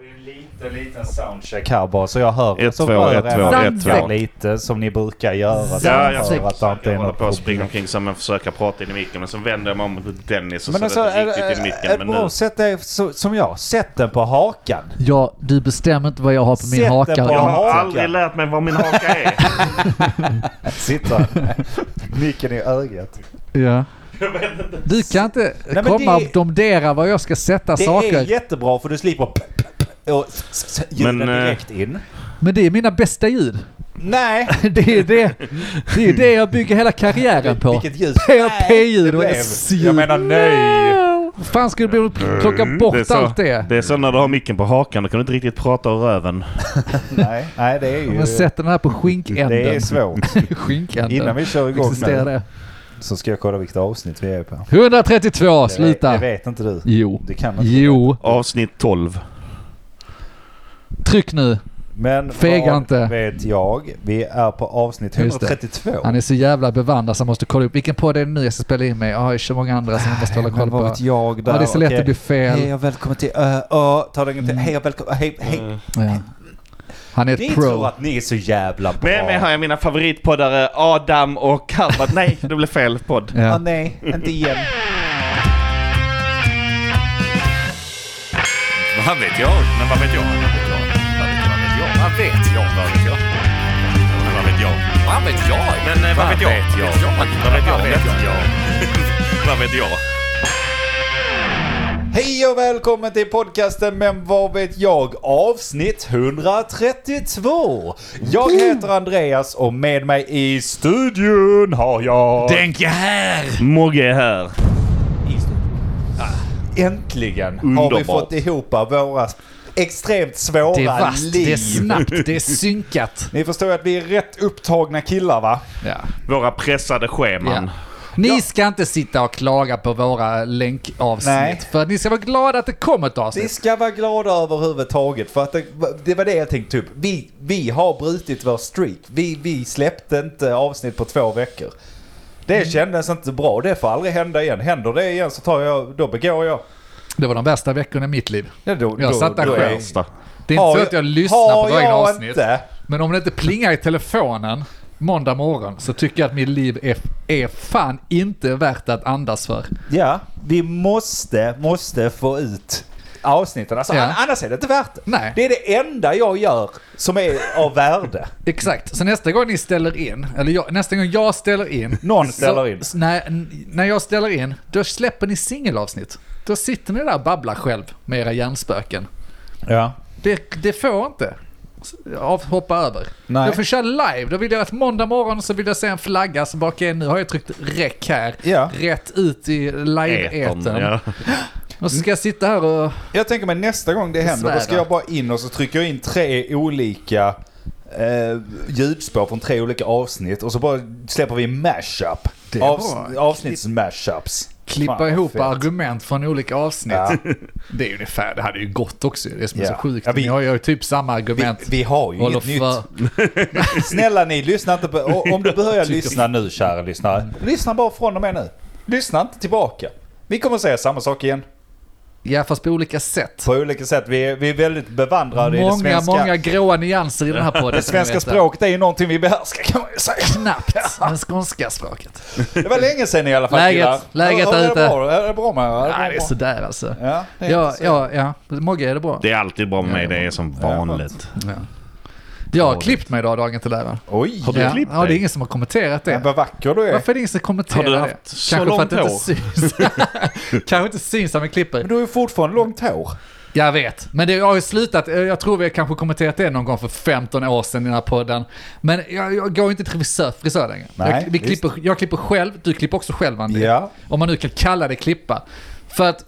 vi en liten, liten soundcheck här bara så jag hör Ett, så två, rör ett, två, jag ett, två. lite som ni brukar göra. så Ja, jag jag hör försöker- att det inte är Jag håller något på att springa problem. omkring som en försöker prata in i micken men så vänder jag mig om mot Dennis och Men så alltså, är det riktigt in i ett, micken. ett Men bra nu... sätt är så, som jag, sätt den på hakan. Ja, du bestämmer inte vad jag har på min Sätt haka. det på Jag Jag har- har hakan. aldrig lärt mig vad min haka är. Sitta micken i ögat. Ja. Du kan inte men komma det- och domdera var jag ska sätta Det är saker. jättebra för du slipper p- p- p- och s- s- ljuden Men, eh, direkt in. Men det är mina bästa ljud. Nej! Det är det, det, är det jag bygger hela karriären på. Vilket ljud. PRP-ljud och blev. S-ljud. Jag menar nej. Vad fan ska du bli plocka bort Mm, är så, allt det? Det är så när du har micken på hakan, då kan du inte riktigt prata ur röven. nej. Nej, det är ju... Men sätt den här på skinkänden. det är svårt. skinkänden. Innan vi kör igång Existerar nu det? så ska jag kolla vilket avsnitt vi är på. 132, Det sluta. vet inte du. Jo. Det kan inte Jo. Avsnitt 12. Tryck nu. Men Fega vad inte. vet jag. Vi är på avsnitt Just det. 132. Han är så jävla bevandrad så han måste kolla upp vilken podd är det nu jag ska spela in med. Ja, det är så många andra som jag måste hålla koll Men vad på. vet jag där? Ja, det är så lätt Okej. att bli fel. Hej och välkommen till ö, ö. Ta det en gång till. Hej och välkommen. Hej, hej. Ja. Han är Ni Mm. ett tror pro. att ni är så jävla bra. Med mig har jag mina favoritpoddare Adam och Harvard. Nej, det blev fel podd. Ah, Ja. nej, inte igen. Vad vet jag? Men vad vet jag? Vad vet jag? Vad vet jag? Men vad vet jag? Vad vet jag? Men eh, vad vet jag? Vad vet jag? Vad vet jag? Vad vet jag? Hej och välkommen till podcasten Men vad vet jag? Avsnitt 132. Jag heter Andreas och med mig i studion har jag... Denke här! Mogge är här. Äntligen har vi Underbart. fått ihop våra extremt svåra Det är vasst, liv. det är snabbt, det är synkat. Ni förstår att vi är rätt upptagna killar va? Ja. Våra pressade scheman. Ja. Ni ska inte sitta och klaga på våra länkavsnitt. Nej. För att ni ska vara glada att det kommer ett Vi avsnitt. ska vara glada överhuvudtaget för att det, det var det jag tänkte upp. Vi, vi har brutit vår streak. Vi, vi släppte inte avsnitt på två veckor. Det kändes inte bra. Det får aldrig hända igen. Händer det igen så tar jag, då begår jag. Det var de värsta veckorna i mitt liv. Ja, då, Jag satt där är- själv. Första. Det är inte Har så jag- att jag lyssnar har på våra egna jag avsnitt. inte? Men om det inte plingar i telefonen måndag morgon så tycker jag att mitt liv är, är fan inte värt att andas för. Ja, vi måste, måste få ut avsnitten. Alltså, Ja. an- Annars är det inte värt det. Nej. Det är det enda jag gör som är av värde. Exakt, så nästa gång ni ställer in, eller jag, nästa gång jag ställer in. Någon så- ställer in. s- När, n- när jag ställer in, då släpper ni singelavsnitt. Då sitter ni där och babblar själv med era hjärnspöken. Ja. Det, det får inte av, hoppa över. Nej. Jag får köra live. Då vill jag att måndag morgon så vill jag se en flagga som bara okej nu har jag tryckt räck här. Ja. Rätt ut i live-etern. Etern, ja. Och så ska jag sitta här och... Jag tänker mig nästa gång det händer, då ska Svära. jag bara in och så trycker jag in tre olika eh, ljudspår från tre olika avsnitt och så bara släpper vi en mashup. Det är Avs bra. Avsnitts-mashups. Klippa Fan, ihop fett. argument från olika avsnitt. Ja. Det är ju ungefär, det hade ju gått också det som är Ja. så sjukt. Ja, vi- Ni har ju typ samma Vi, argument. vi har ju Håller inget för... nytt. Snälla ni, lyssna inte på... o- Om du börjar lyssna nu, kära lyssnare. Lyssna bara från och med nu. Lyssna inte tillbaka. Vi kommer säga samma sak igen. Ja fast på olika sätt. På olika sätt. Vi är, vi är väldigt bevandrade i det Många, svenska... många gråa nyanser i den här podden. Det ska ni svenska veta. språket är ju någonting vi behärskar kan man ju säga. Knappt, men skånska språket. Det var länge sedan i alla fall Läget- killar. läget Ja, där är det ute. bra? Är det bra med er? Nej, det är sådär alltså. Ja, det är Ja, inte så. ja, ja. Mogge, är det bra? Det är alltid bra med mig, det är som vanligt. Ja. Jag har klippt mig idag, dagen till ära. Oj! Har du ja. klippt ja, det är dig? ingen som har kommenterat det. Men vad vacker du är. Varför är det ingen som kommenterar Har du det? haft så för att det långt inte syns. Kanske inte syns när man klipper. Men du har ju fortfarande långt hår. Jag vet, men det har ju slutat. eh, Jag tror vi har kanske kommenterat det någon gång för 15 år sedan i den här podden. Men jag, jag går ju inte till frisör, frisör längre. Nej, jag, vi visst. klipper, jag klipper själv, du klipper också själv Andy. Ja. Om man nu kan kalla det klippa. För att,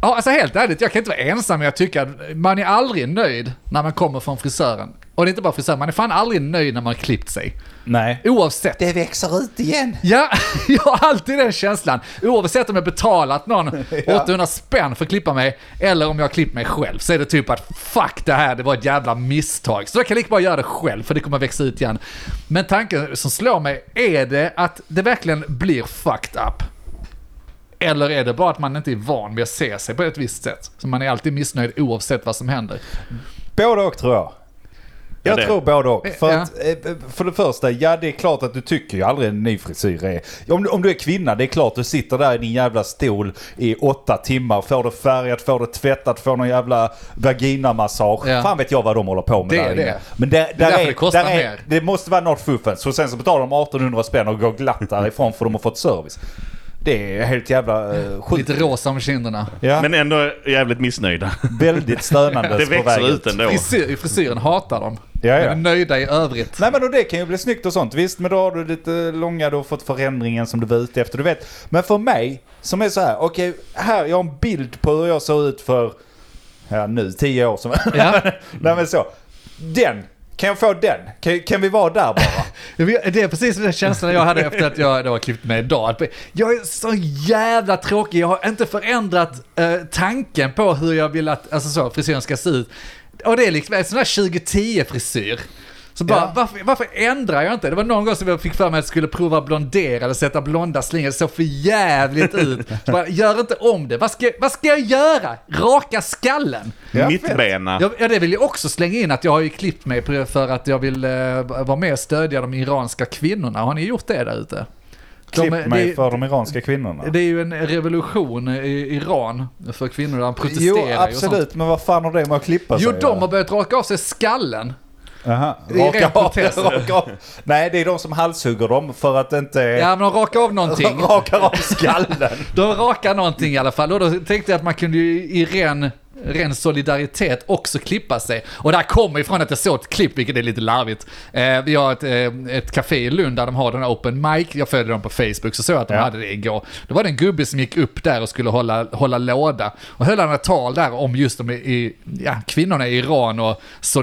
ja, alltså helt ärligt, jag kan inte vara ensam men jag tycker att man är aldrig nöjd när man kommer från frisören. Och det är inte bara frisören, man är fan aldrig nöjd när man har klippt sig. Nej. Oavsett. Det växer ut igen. Ja, jag har alltid den känslan. Oavsett om jag betalat någon 800 spänn för att klippa mig, eller om jag har klippt mig själv, så är det typ att fuck det här, det var ett jävla misstag. Så jag kan lika bra göra det själv, för det kommer växa ut igen. Men tanken som slår mig, är det att det verkligen blir fucked up? Eller är det bara att man inte är van vid att se sig på ett visst sätt? Så man är alltid missnöjd oavsett vad som händer. Både och tror jag. Jag det- tror både och. För, Ja. att, eh, för det första, ja det är klart att du tycker ju aldrig en ny frisyr är... Om, du- om du är kvinna, det är klart du sitter där i din jävla stol i åtta timmar, får det färgat, får det tvättat, får någon jävla vaginamassage. Ja. Fan vet jag vad de håller på med Det är där inne. det. Men där, där därför är, det kostar där är, mer. Det måste vara något fuffens. Och sen så betalar de 1800 spänn och går glatt därifrån för de har fått service. Det är helt jävla eh, sjukt. Lite rosa om kinderna. Ja, Men ändå jävligt missnöjda. väldigt stönandes Det på väg växer ut ändå. Frisyr, frisyren hatar dem. Ja, ja. Men är nöjda i övrigt. Nej men och det kan ju bli snyggt och sånt. Visst, men då har du lite långa, du har fått förändringen som du var ute efter. Du vet. Men för mig, som är så här, okej, här, jag har en bild på hur jag såg ut för, ja nu, tio år sedan. Ja. Nej men så. Den, kan jag få den? Kan, kan vi vara där bara? Jag vet- Det är precis den känslan jag hade efter att jag då har klippt mig idag. Att Jag är så jävla tråkig, jag har inte förändrat eh, tanken på hur jag vill att alltså så, frisyren ska se ut. Och det är liksom en sån här 2010-frisyr. Så bara, Ja. varför, varför ändrar jag inte? Det var någon gång som jag fick för mig att jag skulle prova blondera eller sätta blonda slingor. Det såg för jävligt ut. Så bara, gör inte om det. Vad ska, vad ska jag göra? Raka skallen? Ja, Mittbena. Ja, ja, det vill jag också slänga in att jag har ju klippt mig på- för att jag vill eh, vara med och stödja de iranska kvinnorna. Har ni gjort det där ute? Klipp De- mig det, för de iranska kvinnorna. det är ju en revolution i Iran för kvinnor där de protesterar jo, ju och sånt. absolut, men vad fan har det med att klippa Jo, sig de har att börjat raka av sig skallen. göra? i Jaha. Raka ren av, protest. raka av. Nej, det är de som halshugger dem för att inte... Ja, men de rakar av någonting. Rakar av skallen. De rakar någonting i alla fall. Och då tänkte jag att man kunde ju i ren, ren solidaritet också klippa sig. Och där kommer ifrån att jag såg ett klipp, vilket är lite larvigt. Eh, vi har ett, eh, ett café i Lund där de har den här open mic. Jag följer dem på Facebook, så såg jag att de Ja. hade det igår. Då var det en gubbe som gick upp där och skulle hålla, hålla låda. Och höll han ett tal där om just de i- i, ja, kvinnorna i Iran och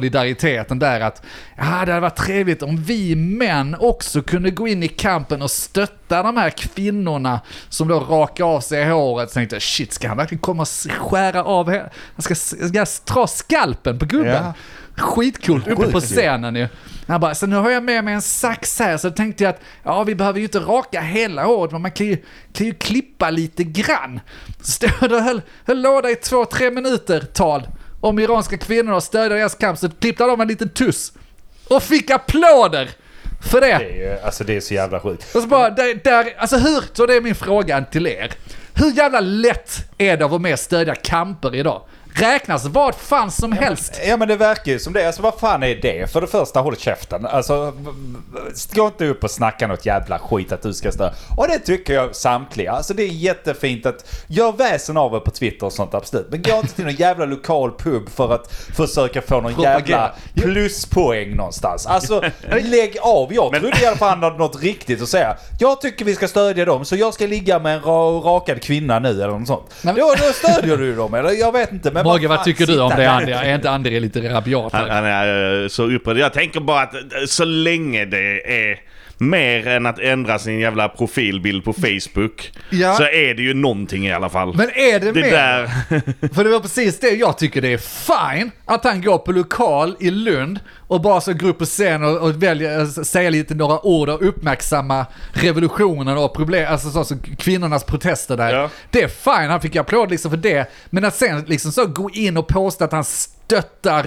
solidariteten där. Att ja, det hade varit trevligt om vi män också kunde gå in i kampen och stötta de här kvinnorna som då rakar av sig håret. Så tänkte jag, shit, ska han verkligen komma och skära av henne? Han ska, ska ta skalpen på gubben. Ja. Skitcoolt, uppe Sjukt på ju. scenen ju. Han bara, så nu har jag med mig en sax här, så tänkte jag att ja, vi behöver ju inte raka hela håret, men man kan ju, kan ju klippa lite grann. Så stod jag där och höll, höll låda i två, tre minuter tal om iranska kvinnor och stödja deras kamp, så klippte de en liten tuss. Och fick applåder för det. Det är ju- Alltså det är så jävla sjukt. Och så bara, där, där, alltså hur, så det är min fråga till er. Hur jävla lätt är det att vara med och stödja kamper idag? Räknas vad fan som helst. Ja men det verkar ju som det. Alltså vad fan är det? För det första, håll käften. Alltså, v- v- gå inte upp och snacka något jävla skit att du ska stå. Och det tycker jag samtliga. Alltså det är jättefint att gör väsen av er på Twitter och sånt, absolut. Men gå inte till någon jävla lokal pub för att försöka få någon jävla Propagera. pluspoäng någonstans. Alltså lägg av. Jag trodde i alla fall han hade något riktigt att säga. Jag tycker vi ska stödja dem, så jag ska ligga med en ra- rakad kvinna nu eller något sånt. Nej, men- Då, då stödjer du dem, eller jag vet inte. Men Mogge, vad fan, tycker du om sitta det där. Andy? Är inte Andy lite rabiat? Han, här? han är eh, så upprörd. Jag tänker bara att eh, så länge det är mer än att ändra sin jävla profilbild på Facebook Ja. så är det ju någonting i alla fall. Men är det, det mer? där... För det var precis det jag tycker det är fine att han går på lokal i Lund och bara så går upp på scen och, och väljer att säga lite några ord och uppmärksamma revolutionen och problem, alltså så, så kvinnornas protester där. Ja. Det är fine, han fick applåd liksom för det. Men att sen liksom så gå in och påstå att han stöttar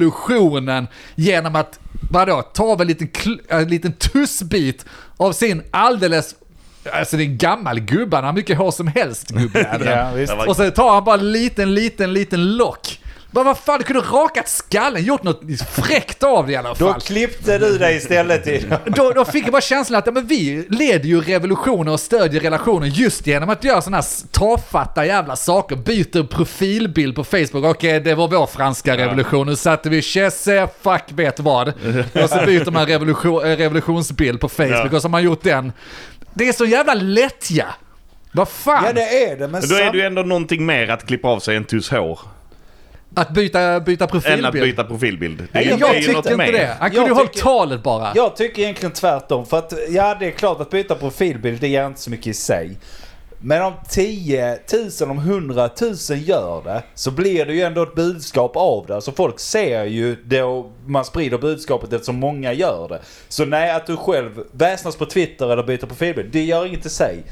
revolutionen genom att, vadå, ta av en liten, kl- en liten tussbit av sin alldeles Alltså det är en gammal gubbe, han har mycket hår som helst gubbjäveln. Ja, visst. Det var- Och så tar han bara en liten, liten, liten lock. Bara, vad fan, du kunde rakat skallen, gjort något fräckt av det i alla Då fall. klippte du dig istället i... Då, då fick jag bara känslan att ja, men vi leder ju revolutioner och stödjer relationer just genom att göra sådana här s- tafatta jävla saker. Byter profilbild på Facebook. Okej, det var vår franska revolution. Nu satte vi Chesse, fuck vet vad. Och så byter man revolution, eh, revolutionsbild på Facebook Ja. och så har man gjort den. Det är så jävla lättja. Vad fan? Ja det är det, men Då är det ju sam- ändå någonting mer att klippa av sig en tuss hår Att byta, byta än att profilbild. byta profilbild. Det är ju, Jag, det är ju tyckte något inte mer. det. Han Jag kunde ju hållit tycker- talet bara. Jag tycker egentligen tvärtom. För att, ja det är klart att byta profilbild, det ger inte så mycket i sig. Men om 10 000, om 100 000 gör det, så blir det ju ändå ett budskap av det. Så folk ser ju det och man sprider budskapet eftersom många gör det. Så nej, att du själv väsnas på Twitter eller byter profilbild, det gör inget i sig.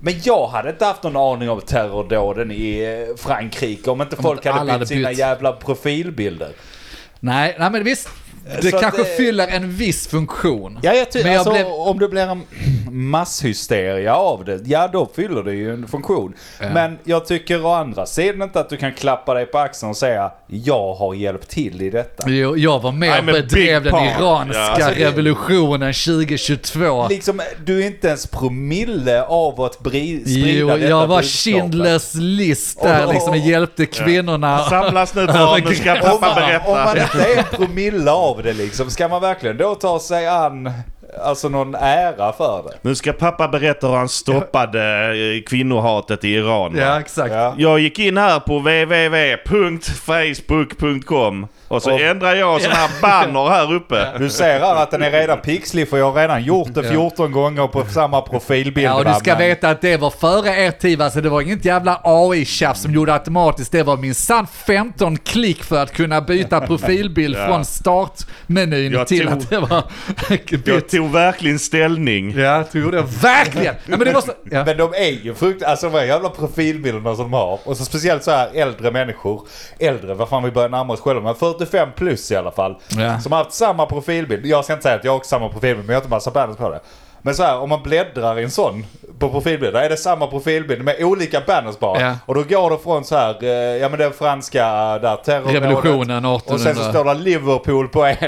Men jag hade inte haft någon aning om terrordåden i eh, Frankrike om inte folk inte alla hade hade bytt sina bytt. jävla profilbilder. Nej, nej men visst. Det Så att kanske det- fyller en viss funktion. Ja, jag ty- Men jag alltså, blev- om det blir en masshysteria av det, ja då fyller det ju en funktion. Ja. Men jag tycker å andra sidan inte att du kan klappa dig på axeln och säga jag har hjälpt till i detta. Jo, jag var med och I'm a big bedrev den part. iranska Ja, alltså det- revolutionen 2022. Liksom, du är inte ens promille av att bri- sprida Jo, detta jag var budskapet. Schindlers list där Och- och- liksom och hjälpte kvinnorna. Samlas nu barn, nu ska Om pappa man, om berätta. man inte är en promille av det liksom, ska man verkligen då ta sig an alltså någon ära för det? Nu ska pappa berätta hur han stoppade eh, kvinnohatet i Iran. va? Ja, exakt. Ja. Jag gick in här på www.facebook.com och så Och- ändrade jag sån här banner här uppe. Du ser här att den är redan pixlig för jag har redan gjort det Ja. 14 gånger på samma profilbild. Ja, och du va, ska men- veta att det var före er tid, alltså det var inget jävla AI-tjafs som gjorde automatiskt. Det var minsann 15 klick för att kunna byta profilbild Ja. från startmenyn Jag till tog- att det var Jag bytt. tog verkligen ställning. Ja, det gjorde jag verkligen! Nej, men det var så... ja. Men de är ju fruktansvärt, alltså de här jävla profilbilderna som de har. Och så speciellt så här äldre människor. Äldre, vad fan vi börjar närma oss själva. Men 45 plus i alla fall. Ja. Som har haft samma profilbild. Jag ska inte säga att jag har också samma profilbild men jag har inte massa banners på det. Men så här, om man bläddrar i en sån på profilbilder, är det samma profilbild med olika banners bara. Ja. Och då går det från så här, eh, ja men den franska eh, där terrorrådet. Revolutionen Och sen så 1800. står det Liverpool på en.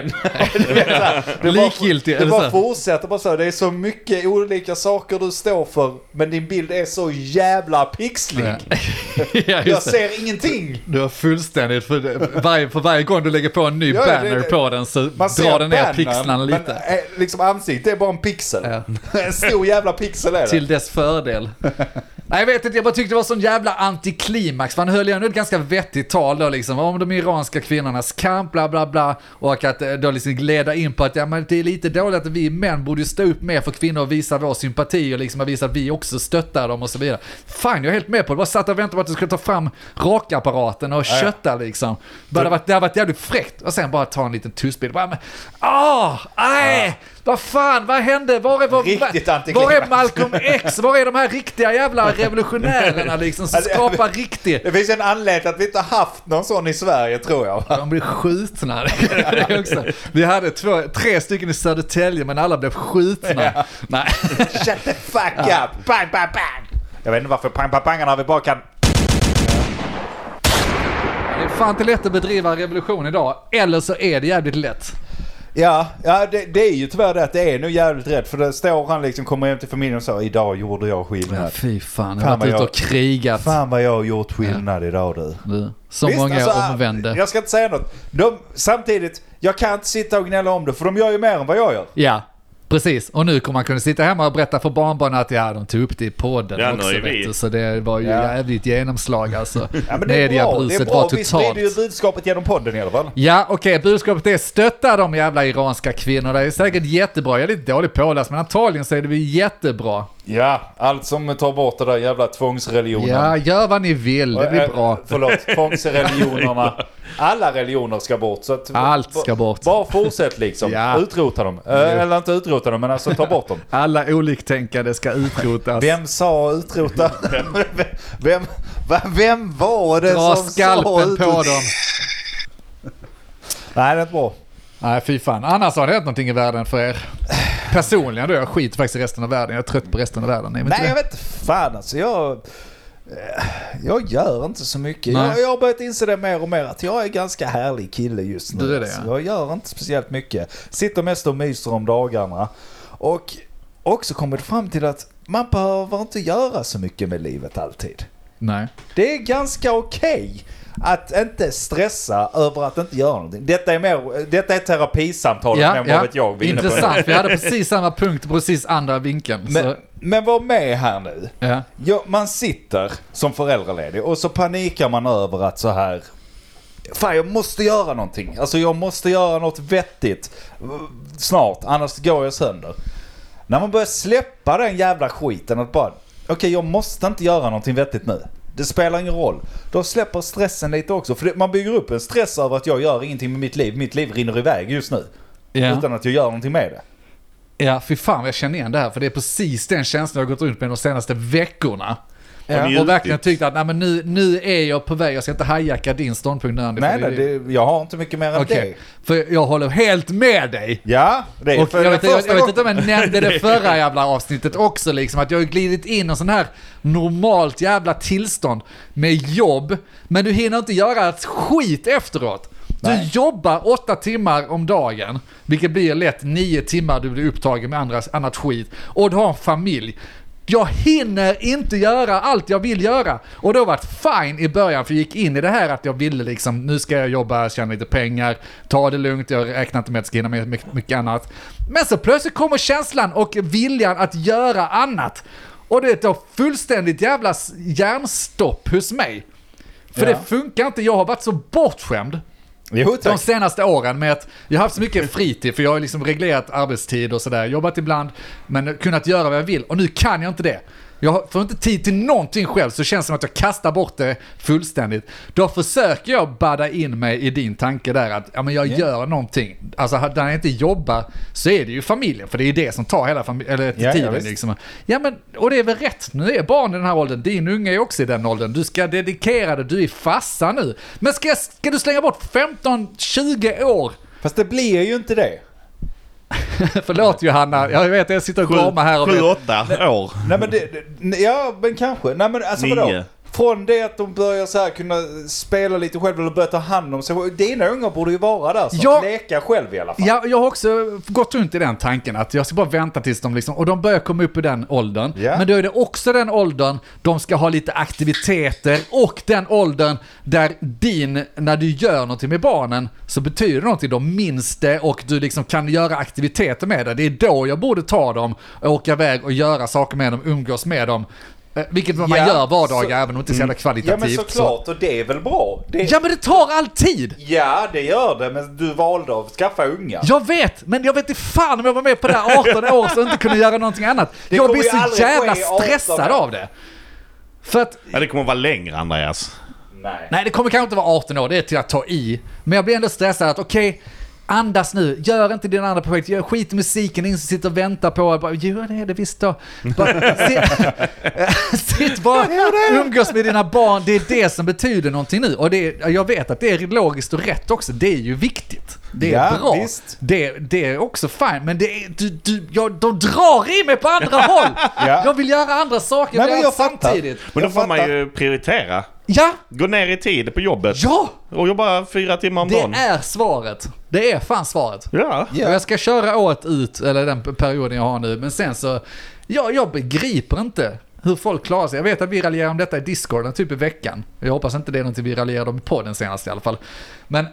Du vet så här, det bara- Likgiltig, Det eller bara så? fortsätter bara så. Det är så mycket olika saker du står för, men din bild är så jävla pixlig. Ja. ja, Jag just det. ser ingenting. Du har fullständigt, för varje, för varje gång du lägger på en ny Ja, det- banner det- på den så Man ser drar den ner bannern, pixlarna men, lite. eh, liksom ansiktet är bara en pixel. En stor jävla pixel är det. Till dess fördel. Nej, jag vet inte, jag bara tyckte det var sån jävla antiklimax. Man höll ju ändå ett ganska vettigt tal då liksom, om de iranska kvinnornas kamp, bla bla bla. Och att eh, då liksom leda in på att ja, men det är lite dåligt att vi män borde ju stå upp mer för kvinnor och visa vår sympati och liksom visa att vi också stöttar dem och så vidare. Fan, jag är helt med på det. Bara satt och väntade på att du skulle ta fram rakapparaten och kötta liksom. Bara, det, hade varit, det hade varit jävligt fräckt. Och sen bara ta en liten tussbild. Bara, men, ah, nej, vad fan, vad hände? Var är, var, Riktigt var är antiklimax. Malcolm X, var är de här riktiga jävla revolutionärerna liksom som Alltså, skapar riktigt? Det finns en anledning att vi inte har haft någon sån i Sverige tror jag. De blev skjutna. Det är också. Vi hade två, tre stycken i Södertälje men alla blev skjutna. Nej. Shut the fuck up! Bang, bang, bang! Jag vet inte varför pang, pang, pangarna vi bara kan... Det är fan inte lätt att bedriva revolution idag. Eller så är det jävligt lätt. Ja, ja det, det är ju tyvärr det att det är nu jävligt rätt. För det står han liksom, kommer hem till familjen och säger idag gjorde jag skillnad. fy fan, jag Fan har vad varit ute jag- och krigat. Fan vad jag har gjort skillnad idag du. Du, Så Visst, många alltså, jag omvände. Jag ska inte säga något. De, samtidigt, jag kan inte sitta och gnälla om det för de gör ju mer än vad jag gör. Ja, precis. Och nu kommer man kunna sitta hemma och berätta för barnbarnen att ja, de tog upp det i podden Ja, nu också. är vi. Vet du. Så det var ju Ja. jävligt genomslag alltså. Ja, men det är bra. Det är Mediabruset bra. var Vi sprider ju totalt. budskapet genom podden i alla fall. Ja, okej, budskapet är stötta de jävla iranska kvinnorna. Det är säkert jättebra. Jag är lite dålig påläst, men antagligen så är det väl jättebra. Ja, allt som tar bort det där jävla tvångsreligionen. Ja, gör vad ni vill. Det blir Eh, bra. Förlåt, tvångsreligionerna. Alla religioner ska bort. Så att, Allt ska bort. Bara fortsätt liksom. Ja. Utrota dem. Eh, Eller inte utrota dem, men alltså ta bort dem. Alla oliktänkande ska utrotas. Vem sa utrota? Vem, va- vem var det Dra som sa skalpen på utrota? dem. Nej, det är inte bra. Nej, fy fan. Annars har det hänt någonting i världen för er. Personligen då, jag skiter faktiskt i resten av världen. Jag är trött på resten av världen. Är vi inte Nej, det? jag vet inte fan alltså. Jag, eh, jag gör inte så mycket. Nej. Jag, jag har börjat inse det mer och mer att jag är en ganska härlig kille just nu. Du är det, alltså. ja. Jag gör inte speciellt mycket. Sitter mest och myser om dagarna. Och också kommit fram till att man behöver inte göra så mycket med livet alltid. Nej. Det är ganska okej att inte stressa över att inte göra någonting. Detta är, mer, detta är terapisamtalet, men vad vet jag. Vi är inne på det. Intressant, vi hade precis samma punkt och precis andra vinkeln. Men, så, men var med här nu. ja. Ja, man sitter som föräldraledig och så panikar man över att så här... Fan, jag måste göra någonting. Alltså jag måste göra något vettigt eh, snart, annars går jag sönder. När man börjar släppa den jävla skiten att bara... Okej, jag måste inte göra någonting vettigt nu. Det spelar ingen roll. Då släpper stressen lite också. För det, man bygger upp en stress över att jag gör ingenting med mitt liv. Mitt liv rinner iväg just nu. Ja. Utan att jag gör någonting med det. Ja, fy fan vad jag känner igen det här. För det är precis den känslan jag har gått runt med de senaste veckorna. njutit. Och verkligen tyckt att nej, men nu, nu är jag på väg, jag ska inte hajacka din ståndpunkt nu Andy. Nej, för nej, det, jag har inte mycket mer än Okej, det. för jag håller helt med dig. Ja, det är Och för jag, vet, jag, första jag vet gången- inte om jag nämnde det förra jävla avsnittet också, liksom, att jag har glidit in i en sån här normalt jävla tillstånd med jobb, men du hinner inte göra ett skit efteråt. Du Nej. jobbar åtta timmar om dagen, vilket blir lätt nio timmar du blir upptagen med andras, annat skit, och du har en familj. Jag hinner inte göra allt jag vill göra. Och det har varit fine i början, för jag gick in i det här att jag ville liksom, nu ska jag jobba, tjäna lite pengar, ta det lugnt, jag räknar inte med att jag ska hinna med mycket, mycket annat. Men så plötsligt kommer känslan och viljan att göra annat. Och det tar fullständigt jävla s- hjärnstopp hos mig. För Ja. det funkar inte, jag har varit så bortskämd Jo, de tack. senaste åren med att jag har haft så mycket fritid för jag har liksom reglerat arbetstid och sådär. Jobbat ibland men kunnat göra vad jag vill och nu kan jag inte det. Jag har- får inte tid till någonting själv så det känns som att jag kastar bort det fullständigt. Då försöker jag badda in mig i din tanke där att ja, men jag gör någonting. Alltså när jag inte jobbar så är det ju familjen för det är det som tar hela fami- eller Ja, ja, tiden. visst. liksom. ja, men, och det är väl rätt, nu är barn i den här åldern, din unge är också i den åldern. Du ska dedikera dig, du är fassa nu. Men ska, ska du slänga bort 15-20 år? Fast det blir ju inte det. Förlåt Johanna, jag vet jag sitter och gormar här. Och Sju, vet, åtta år. Nej men det, det, ja men kanske. Nej men alltså vadå? Nio. Från det att de börjar så här kunna spela lite själv eller börja ta hand om sig själv. Dina ungar borde ju vara där så. Ja. Leka själv i alla fall. jag, jag har också gått runt i den tanken att jag ska bara vänta tills de liksom, och de börjar komma upp i den åldern. Ja. Men då är det också den åldern de ska ha lite aktiviteter och den åldern där din, när du gör någonting med barnen så betyder det någonting, de minns det och du liksom kan göra aktiviteter med det. Det är då jag borde ta dem, åka iväg och göra saker med dem, umgås med dem. Eh, Vilket man Ja, gör vardagar så- Mm. även om det inte är så jävla Ja men kvalitativt. så. såklart och det är väl bra. Det, ja. Ja men det tar all tid! det gör det men du valde att skaffa ungar. Jag vet, men jag vet inte fan om jag var med på det här 18 år så inte kunde göra någonting annat. jag kommer blir ju så aldrig jävla ske i 18 stressad år. av det. För att, Ja, det kommer vara längre Andreas. Nej. nej det kommer kanske inte vara 18 år, det är till att ta i. Men jag blir ändå stressad att okej, andas nu, gör inte dina andra projekt, gör skit i musiken, ingen som sitter och väntar på och bara, jo det är det visst då. Bara, sit, sitt bara, umgås med dina barn, det är det som betyder någonting nu. Och det, är- jag vet att det är logiskt och rätt också, det är ju viktigt. Det är Ja, bra. visst. Det, det är också fine, men det är, du, du, jag, de drar i mig på andra håll! Ja. Jag vill göra andra saker, Nej, jag men vill göra jag fattar. samtidigt. Men då Jag får man fattar. ju prioritera. Ja, Gå ner i tid på jobbet. ja! Och jobba fyra timmar om Det dagen. är svaret. Det är fan svaret. Ja. Ja. Och jag ska köra året ut, eller den perioden jag har nu, men sen så, ja, jag begriper inte hur folk klarar sig. Jag vet att vi raljerar om detta i discorden typ i veckan. Jag hoppas inte det är någonting vi raljerade om på den senaste i alla fall. Men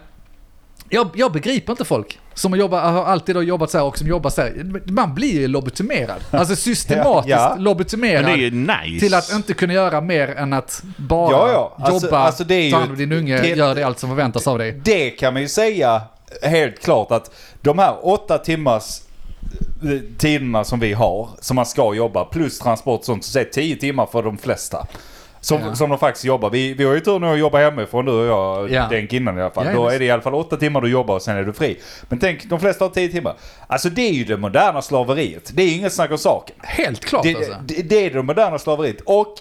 jag, jag begriper inte folk som jobbar, har alltid har jobbat så här och som jobbar så här. Man blir ju lobotomerad. Alltså systematiskt Ja, ja. Men lobotomerad. det är ju nice. Till att inte kunna göra mer än att bara Ja, ja. Alltså- jobba, alltså det är ta ju hand om din unge, helt- gör det allt som förväntas av dig. Det kan man ju säga helt klart att de här åtta timmars eh, tiderna som vi har, som man ska jobba, plus transport och sånt, så det är tio timmar för de flesta. Som, Ja. som de faktiskt jobbar. Vi, vi har ju tur nu att jobba hemifrån du och jag, Ja. Denk, innan i alla fall. Ja, Då visst. är det i alla fall åtta timmar du jobbar och sen är du fri. Men tänk, de flesta har tio timmar. Alltså det är ju det moderna slaveriet. Det är inget snack om saken. Helt klart alltså. Det, det, det är det moderna slaveriet. Och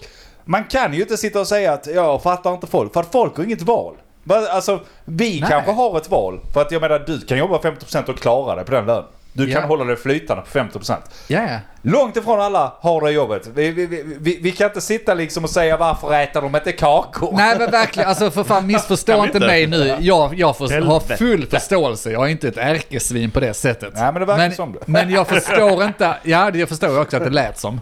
man kan ju inte sitta och säga att jag fattar inte folk, för att folk har inget val. Va- Alltså, vi Nej. kanske har ett val. För att jag menar, du kan jobba 50% och klara dig på den lönen. Du Ja. kan hålla dig flytande på 50%. Ja, ja. Långt ifrån alla har det jobbet. Vi, vi, vi, vi, vi kan inte sitta liksom och säga varför äter de inte kakor? Nej men verkligen, alltså för fan missförstå Kan vi inte inte? mig nu. Jag, jag får, har Helvete. full förståelse, jag är inte ett ärkesvin på det sättet. Nej, men det verkar men, som det. Men jag förstår inte, ja det jag förstår också att det lät som. Eh,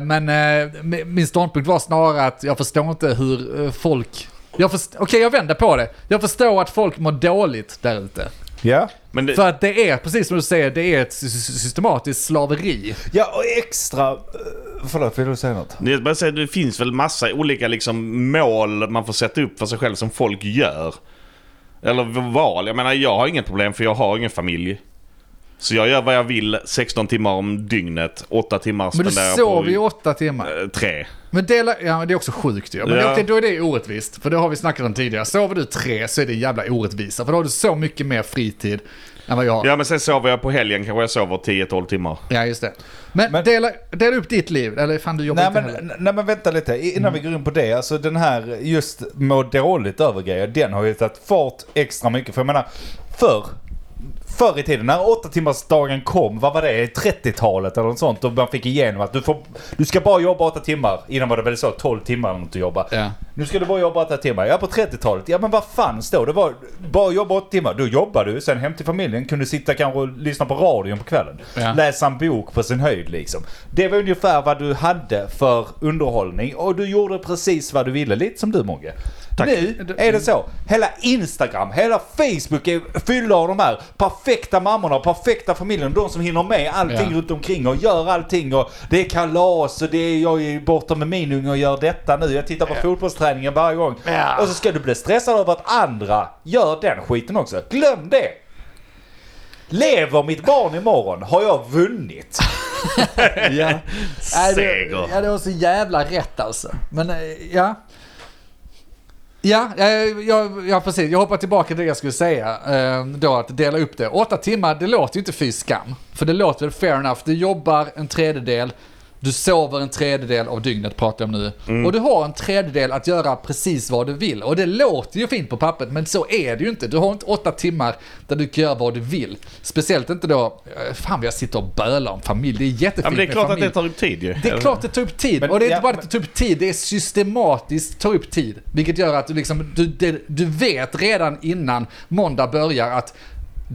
Men eh, mi- min ståndpunkt var snarare att jag förstår inte hur eh, folk... Jag först- Okej, jag vänder på det. Jag förstår att folk mår dåligt där ute. Ja. Men det, För att det är, precis som du säger, det är ett sy- sy- systematiskt slaveri. Ja, och extra... eh, Förlåt, vill du säga något? det, jag bara säger, det finns väl massa olika liksom, mål man får sätta upp för sig själv som folk gör. Eller v- val. Jag menar jag har inget problem för jag har ingen familj. Så jag gör vad jag vill 16 timmar om dygnet. 8 timmar Men du spenderar jag sov ju på... åtta timmar. eh, Tre. Men dela, ja, men det är också sjukt ju. Men Ja. det, då är det orättvist. För det har vi snackat om tidigare. Sover du tre så är det jävla orättvisa. För då har du så mycket mer fritid än vad jag har. Ja men sen sover jag på helgen kanske jag sover 10-12 timmar. Ja, just det. Men, Men- dela, dela upp ditt liv. Eller fan, du jobbar Nej inte men, heller. Mm. n- nej men vänta lite, I- innan vi går in på det. Alltså den här just må dåligt över grejen, den har ju tagit fart extra mycket. För jag menar, förr, förr i tiden när åtta timmars dagen kom, vad var det? 30-talet eller något sånt? Och man fick igenom att du, får, du ska bara jobba åtta timmar. Innan var det väl så 12 timmar eller något att jobba. Ja. Nu ska du bara jobba åtta timmar. Ja på 30-talet, ja men vad fanns då? Det var bara jobba åtta timmar. Då jobbade du, sen hem till familjen, kunde sitta kanske och lyssna på radion på kvällen. Ja. Läsa en bok på sin höjd liksom. Det var ungefär vad du hade för underhållning och du gjorde precis vad du ville. Lite som du Mogge. Nu är det så. Hela Instagram, hela Facebook är fyllda av de här perfekta mammorna, perfekta familjen. De som hinner med allting Ja. runt omkring och gör allting. Och det är kalas och det är jag är borta med min unge och gör detta nu. Jag tittar på fotbollsträningen varje gång. Ja. Och så ska du bli stressad över att andra gör den skiten också. Glöm det! Lever mitt barn imorgon har jag vunnit. Ja. Seger. Ja, det var så jävla rätt alltså. Men eh, ja. Ja, ja, ja, ja, precis. Jag hoppar tillbaka till det jag skulle säga. eh, Då att dela upp det. Åtta timmar, det låter ju inte fy skam. För det låter väl fair enough. Du jobbar en tredjedel, du sover en tredjedel av dygnet pratar jag om nu. Mm. Och du har en tredjedel att göra precis vad du vill. Och det låter ju fint på pappret, men så är det ju inte. Du har inte åtta timmar där du kan göra vad du vill. Speciellt inte då, eh, fan jag sitter och bölar om familj. Det är jättefint Ja, men det är med klart att familj. det tar upp tid ju. Det är klart det tar upp tid. Men- och det är inte ja, bara att men- det tar upp tid, det är systematiskt tar upp tid. Vilket gör att du, liksom, du, det, du vet redan innan måndag börjar att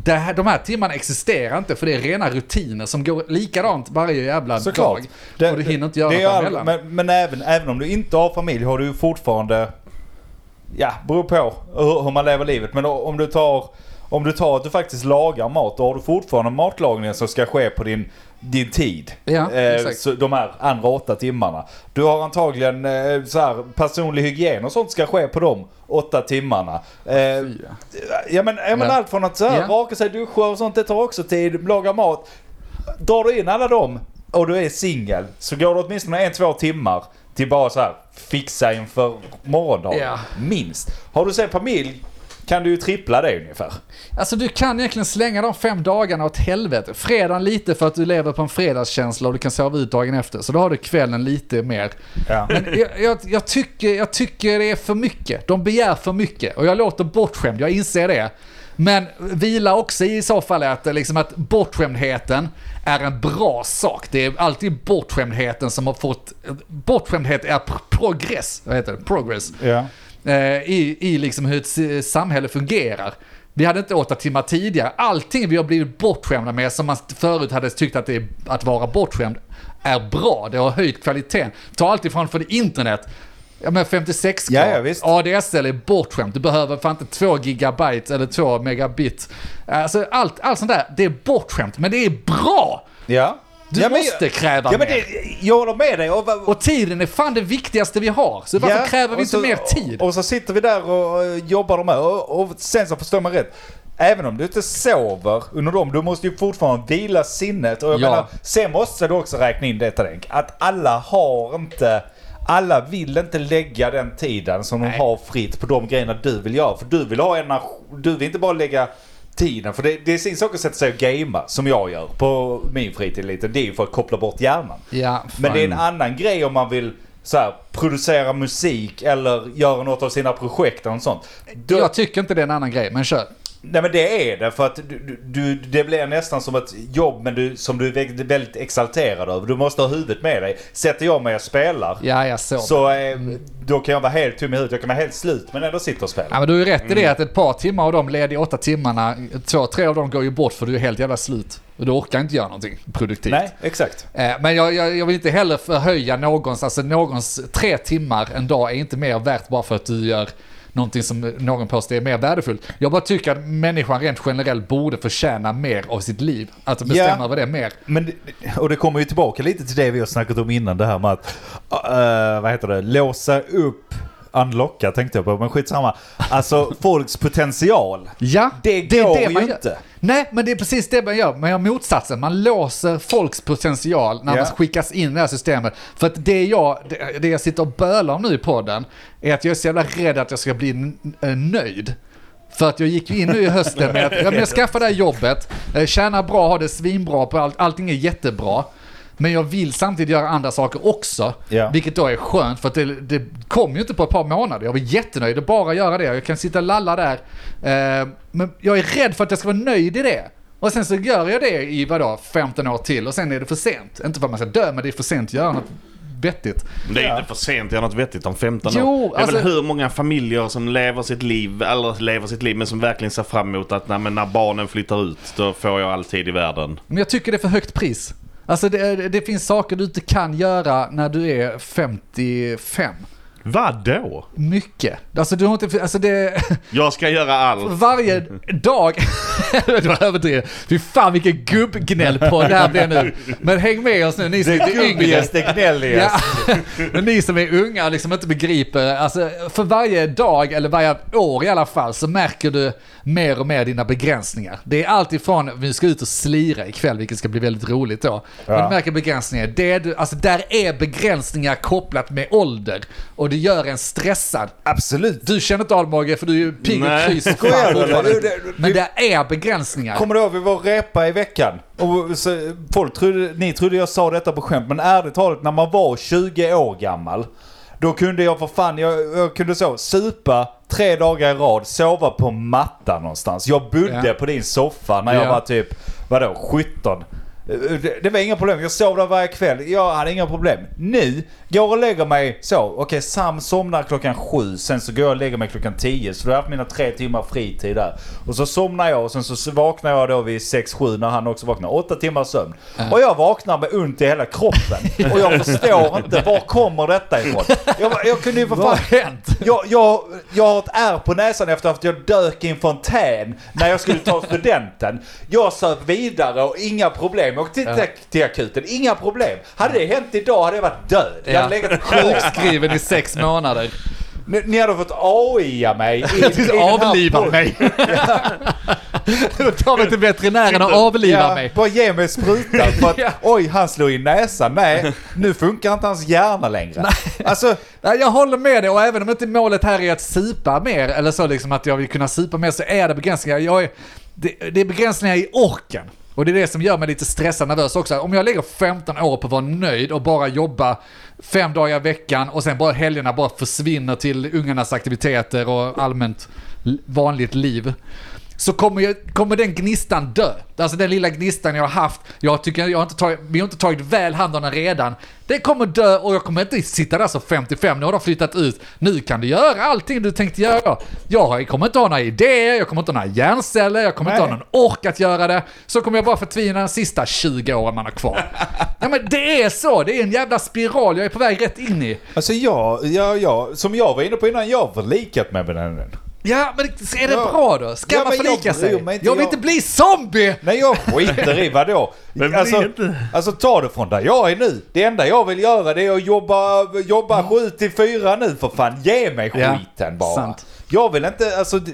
det här, de här timmarna existerar inte för det är rena rutiner som går likadant varje jävla Såklart. dag. Det, och du hinner inte göra det är något ju all- däremellan. Men, men även, även om du inte har familj har du ju fortfarande... Ja, beror på hur, hur man lever livet. Men o- om du tar... Om du tar att du faktiskt lagar mat, då har du fortfarande matlagningen som ska ske på din, din tid. Eh, Ja, exakt. så de här andra åtta timmarna. Du har antagligen eh, så här, personlig hygien och sånt ska ske på de åtta timmarna. Eh, ja men, ja, men Ja. allt från att så här, Ja. raka sig, duscha och sånt, det tar också tid. Laga mat. Drar du in alla dem och du är singel så går det åtminstone en, två timmar till bara så här fixa inför morgondagen. Ja. Minst. Har du sen familj kan du ju trippla det ungefär. Alltså du kan egentligen slänga de fem dagarna åt helvete. Fredagen lite för att du lever på en fredagskänsla och du kan sova ut dagen efter. Så då har du kvällen lite mer. Ja. Men jag, jag, jag, tycker, jag tycker det är för mycket. De begär för mycket. Och jag låter bortskämd, jag inser det. Men vila också i så fall att, liksom att bortskämdheten är en bra sak. Det är alltid bortskämdheten som har fått... Bortskämdhet är pr- progress. Vad heter det? Progress Ja. eh, i, i liksom hur ett s- samhälle fungerar. Vi hade inte åtta timmar tidigare. Allting vi har blivit bortskämda med som man förut hade tyckt att det är, att vara bortskämd är bra. Det har höjt kvaliteten. Ta allt ifrån för internet. Ja men 56 Ja, ja, visst. ADSL är bortskämt. Du behöver fan inte 2 gigabyte eller 2 megabit. Alltså allt, allt sånt där, det är bortskämt. Men det är bra! ja. Du ja, måste kräva ja, men mer. det, Jag håller med dig. Och, vad- Och tiden är fan det viktigaste vi har. Så varför Ja, kräver vi och inte så- mer tid? Och, och så sitter vi där och eh, jobbar de här och, och sen så förstår man rätt. Även om du inte sover under dem, du måste ju fortfarande vila sinnet. Och jag Ja. menar, sen måste du också räkna in detta Denk, att alla har inte, alla vill inte lägga den tiden som de har fritt på de grejerna du vill göra. För du vill ha energi, du vill inte bara lägga tiden. För det, det är sin sak att sätta sig och gamea, som jag gör på min fritid lite. Det är ju för att koppla bort hjärnan. Ja, Men det är en fan. annan grej om man vill så här, producera musik eller göra något av sina projekt eller något sånt. Då, Jag tycker inte det är en annan grej, men kör. Nej men det är det för att du, du- du, det blir nästan som ett jobb men du, som du är vä- väldigt exalterad över. Du måste ha huvudet med dig. Sätter jag mig och spelar Ja, jag såg. så eh, då kan jag vara helt tom i huvudet. Jag kan vara helt slut men ändå sitta och spela. Ja, men du har ju rätt i Mm. det att ett par timmar av de lediga åtta timmarna, två, tre av dem går ju bort för du är helt jävla slut. Och Du orkar inte göra någonting produktivt. Nej, exakt. Eh, Men jag, jag, jag vill inte heller förhöja någons, alltså någons tre timmar en dag är inte mer värt bara för att du gör någonting som någon påstår är mer värdefullt. Jag bara tycker att människan rent generellt borde förtjäna mer av sitt liv. Att bestämma över det mer. Men, det- och det kommer ju tillbaka lite till det vi har snackat om innan det här med att, eh, vad heter det, låsa upp unlocka tänkte jag på, men skitsamma. Alltså folks potential. Ja, Det är går man ju gör. inte. Nej, men det är precis det man gör. Man gör motsatsen. Man låser folks potential när Ja. man skickas in i det här systemet. För att det jag, det- det jag sitter och bölar om nu i podden är att jag är så jävla rädd att jag ska bli n- eh, nöjd. För att jag gick ju in nu i hösten med att ja, men jag skaffar det här jobbet, eh, tjänar bra, har det svinbra, på allt, allting är jättebra. Men jag vill samtidigt göra andra saker också, Ja. vilket då är skönt för att det, det kom ju inte på ett par månader. Jag var jättenöjd att bara göra det. Jag kan sitta och lalla där. Eh, men jag är rädd för att jag ska vara nöjd i det. Och sen så gör jag det i vadå, 15 år till och sen är det för sent. Inte för att man ska dö, men det är för sent att göra något vettigt. Det är ju inte för sent att göra något vettigt om 15 Jo, år. Det är alltså- väl hur många familjer som lever sitt liv, eller lever sitt liv, men som verkligen ser fram emot att nej, men när barnen flyttar ut, då får jag all tid i världen. Men jag tycker det är för högt pris. Alltså det, det finns saker du inte kan göra när du är 55. Vadå? Mycket. Alltså du har inte, alltså det... Jag ska göra allt. Varje dag... det var överdrivet. Fy fan vilken gubbgnäll på det här blir nu. Men häng med oss nu, ni som Det är lite yngre. gubbigaste gnälligaste. Ja, men ni som är unga och liksom inte begriper, alltså för varje dag eller varje år i alla fall så märker du mer och mer dina begränsningar. Det är allt ifrån, vi ska ut och slira ikväll vilket ska bli väldigt roligt då. Men du märker begränsningar, det du, alltså där är begränsningar kopplat med ålder och det gör en stressad. Absolut. Du känner inte av Mogge för du är ju pigg och Nej. krys. Skojar du, eller? fortfarande. Jo, det- Men det är begränsningar. Kommer du ihåg vi var och repa i veckan? Och så, folk trodde, ni trodde jag sa detta på skämt, men ärligt talat när man var 20 år gammal. Då kunde jag för fan, jag, jag kunde så, supa tre dagar i rad, sova på matta någonstans. Jag bodde Ja. på din soffa när jag Ja. var typ, vadå, 17? Det, det var inga problem, jag sov där varje kväll. Jag hade inga problem. Nu går och lägger mig så, okej Sam somnar klockan sju, sen så går jag och lägger mig klockan tio. Så då har jag haft mina tre timmar fritid där. Och så somnar jag och sen så vaknar jag då vid sex, sju när han också vaknar. Åtta timmar sömn. Och jag vaknar med ont i hela kroppen. Och jag förstår inte, var kommer detta ifrån? Jag, jag kunde ju för Vad har fan hänt? jag, jag, jag har ett ärr på näsan efter att jag dök i en fontän när jag skulle ta studenten. Jag söp vidare och inga problem. Jag åkte till, till akuten, inga problem. Hade det hänt idag hade jag varit död. Jag Ja. hade legat Sjukskriven i sex månader. ni, ni hade fått AIa mig. I, i den här Avliva podden. mig. Ta mig till veterinären och avliva Ja, mig. bara ge mig sprutan för att Ja. oj, han slog i näsan. Nej, nu funkar inte hans hjärna längre. Alltså, Nej, jag håller med dig och även om inte målet här är att supa mer eller så liksom att jag vill kunna supa mer så är det begränsningar. Jag är, det, det är begränsningar i orken. Och det är det som gör mig lite stressad nervös också. Om jag lägger 15 år på att vara nöjd och bara jobba fem dagar i veckan och sen bara helgerna bara försvinner till ungarnas aktiviteter och allmänt l- vanligt liv. Så kommer, jag, kommer den gnistan dö. Alltså den lilla gnistan jag har haft, jag tycker jag har inte tagit, vi har inte tagit väl hand om den redan. Den kommer dö och jag kommer inte sitta där som 55, nu har de flyttat ut. Nu kan du göra allting du tänkte göra. Jag har- jag kommer inte ha några idéer, jag kommer inte ha några hjärnceller, jag kommer inte Nej. ha någon ork att göra det. Så kommer jag bara förtvina de sista 20 åren man har kvar. ja men det är så, det är en jävla spiral jag är på väg rätt in i. alltså jag, jag, jag, som jag var inne på innan, jag har förlikat mig med den. Ja men är det Ja. bra då? Ska Ja, man men jag förlika sig? bryr Jag mig inte, vill jag- inte bli zombie! Nej jag skiter i vadå? Men bli alltså, inte- alltså ta det från där jag är nu. Det enda jag vill göra det är att jobba, jobba 7 till 4 nu för fan. Ge mig Mm. Ja, skiten bara. sant. Jag vill inte, alltså det,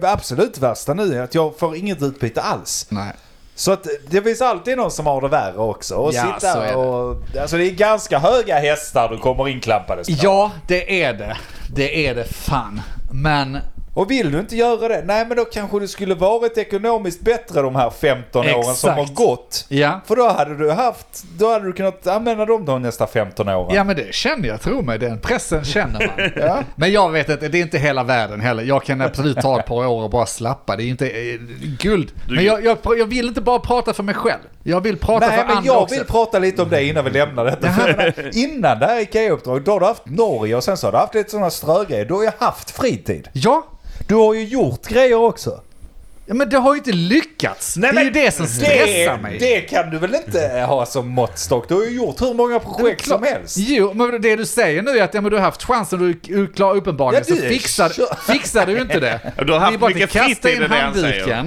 det absolut värsta nu är att jag får inget utbyte alls. Nej. Så att det finns alltid någon som har det värre också. Och Ja, sitta så är det. och... Alltså det är ganska höga hästar du kommer inklampades på. Ja, det är det. Det är det fan. Men Och vill du inte göra det, nej men då kanske du skulle varit ekonomiskt bättre de här 15 åren som Exakt. har gått. ja. För då hade du haft, då hade du kunnat använda dem de nästa 15 åren. Ja men det känner jag, tro mig. Den pressen känner man. Men jag vet att det är inte hela världen heller. Jag kan absolut ta ett par år och bara slappa. Det är inte eh, guld. Men jag, jag, jag vill inte bara prata för mig själv. Jag vill prata Nej, för men andra jag också. vill prata lite om det innan vi lämnar detta. För jag menar, innan det här IKEA-uppdraget, då har du haft Norge och sen så har du haft lite sådana strögrejer. Då har jag haft fritid. Ja, Du har ju gjort grejer också. Ja, men det har ju inte lyckats. Nej, det är ju men det som stressar Det, mig. det kan du väl inte ha som måttstock? Du har ju gjort hur många projekt som helst. Jo, men det du säger nu är att ja, men du har haft chansen och du- du klarar uppenbarligen Ja, så du är fixar, kö- fixar du inte det. Ja, du har Det är haft bara att mycket kasta fritid, in det är det han säger. handduken.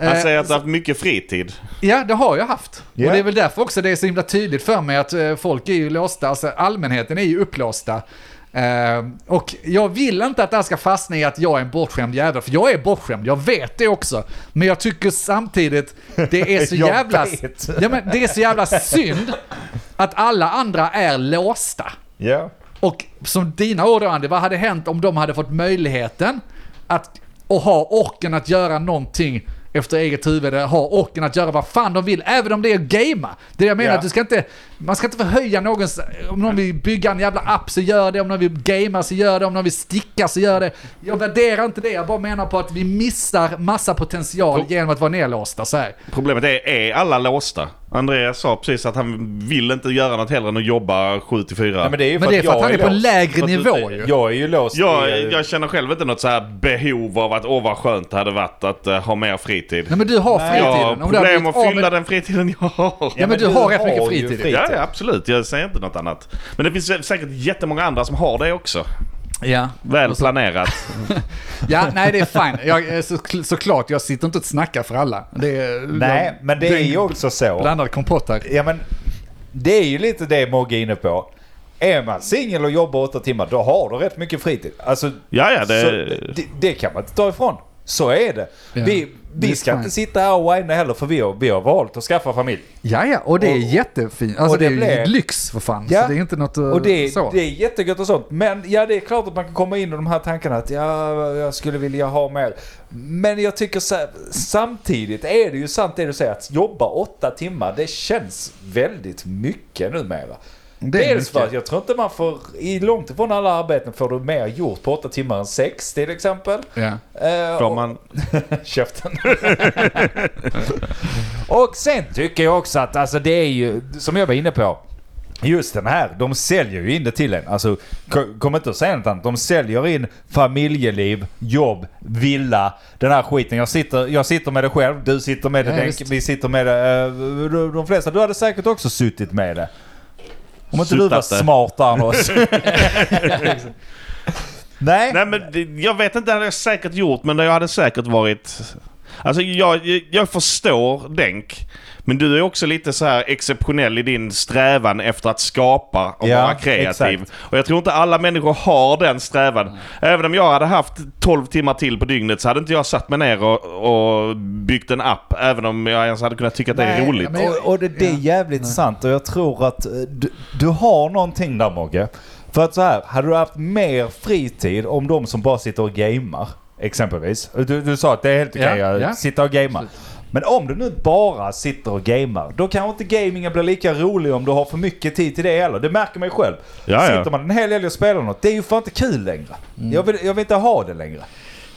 Han Eh, säger att du har haft mycket fritid. Ja, det har jag haft. Ja. Och det är väl därför också det är så himla tydligt för mig att eh, folk är ju låsta, alltså allmänheten är ju upplåsta. Eh, Eh, och jag vill inte att det här ska fastna i att jag är en bortskämd jävel, för jag är bortskämd, jag vet det också. Men jag tycker samtidigt, det är så Jag jävla... vet. Ja, men det är så jävla synd att alla andra är låsta. Ja. Och som dina ord då, Andy, vad hade hänt om de hade fått möjligheten att och ha orken att göra någonting efter eget huvud, eller ha orken att göra vad fan de vill, även om det är att gamea. Det jag menar, Ja. att du ska inte, man ska inte förhöja någons, om någon vill bygga en jävla app så gör det, om någon vill gamea så gör det, om någon vill sticka så gör det. Jag värderar inte det, jag bara menar på att vi missar massa potential Pro- genom att vara nedlåsta så här. Problemet är, är alla låsta? Andreas sa precis att han vill inte göra något hellre än att jobba 7 till 4. Nej, men det är ju Men det är för att jag han är på en låst. För lägre att du- nivå ju. Jag är ju låst jag, i... eh, jag känner själv inte något så här behov av att åh vad skönt det hade varit att eh, ha mer fritid. Nej men du har Nej. fritiden. jag Om har du hade problem blivit att av fylla med- den fritiden jag har. Ja, men du har rätt mycket ju fritid. Ja, ja, absolut. Jag säger inte något annat. Men det finns sä- säkert jättemånga andra som har det också. Ja. Väl Alltså, planerat. Ja, nej det är fine. Jag, eh, så, såklart, jag sitter inte och snackar för alla. Det är, Nej, jag- men det är ju också så. Blandad kompott här. Ja, men det är ju lite det Mogge är inne på. Är man singel och jobbar åtta timmar, då har du rätt mycket fritid. Alltså, Ja, ja, det- så, det, det kan man inte ta ifrån. Så är det. Ja. Vi, Det är vi ska fine. inte sitta här och whina heller, för vi har, vi har valt att skaffa familj. Ja, ja, och det är Och- jättefint. Alltså och det, det är ju blev- lyx för fan. Ja. Så det är inte något eh, Och det, så. det är jättegött och sånt. Men ja, det är klart att man kan komma in i de här tankarna att ja, jag skulle vilja ha mer. Men jag tycker så här, samtidigt är det ju sant det du säger att jobba åtta timmar, det känns väldigt mycket numera. Det är Dels mycket. för att jag tror inte man får, i långt ifrån alla arbeten får du mer gjort på åtta timmar än sex till exempel. Ja. Eh, Får och- man... Käften. och sen tycker jag också att alltså, det är ju, som jag var inne på, just den här, de säljer ju in det till en. Alltså, k- kom inte att säga något annat. De säljer in familjeliv, jobb, villa, den här skiten. Jag sitter, jag sitter med det själv, du sitter med det, Ja, Denk, visst. vi sitter med det, eh, de- de flesta. Du hade säkert också suttit med det. Om inte du var Suttat det. smartare än oss. Nej. Nej men det- jag vet inte, det hade jag säkert gjort men det hade säkert varit... Alltså jag, jag- jag förstår Denk. Men du är också lite så här exceptionell i din strävan efter att skapa och Ja, vara kreativ. exakt. Och jag tror inte alla människor har den strävan. Även om jag hade haft 12 timmar till på dygnet så hade inte jag satt mig ner och, och byggt en app. Även om jag ens hade kunnat tycka att det är Nej, roligt. men- Och, och det, det är Ja. jävligt sant och jag tror att eh, du, du har någonting där Mogge. För att så här, hade du haft mer fritid om de som bara sitter och gamer exempelvis. Du, du sa att det är helt okej Ja, att ja. sitta och gamea. Men om du nu bara sitter och gamer, då kanske inte gamingen blir lika rolig om du har för mycket tid till det heller. Det märker man ju själv. Ja, ja. sitter man en hel helg och spelar något, det är ju fan inte kul längre. Jag, vill, jag vill inte ha det längre.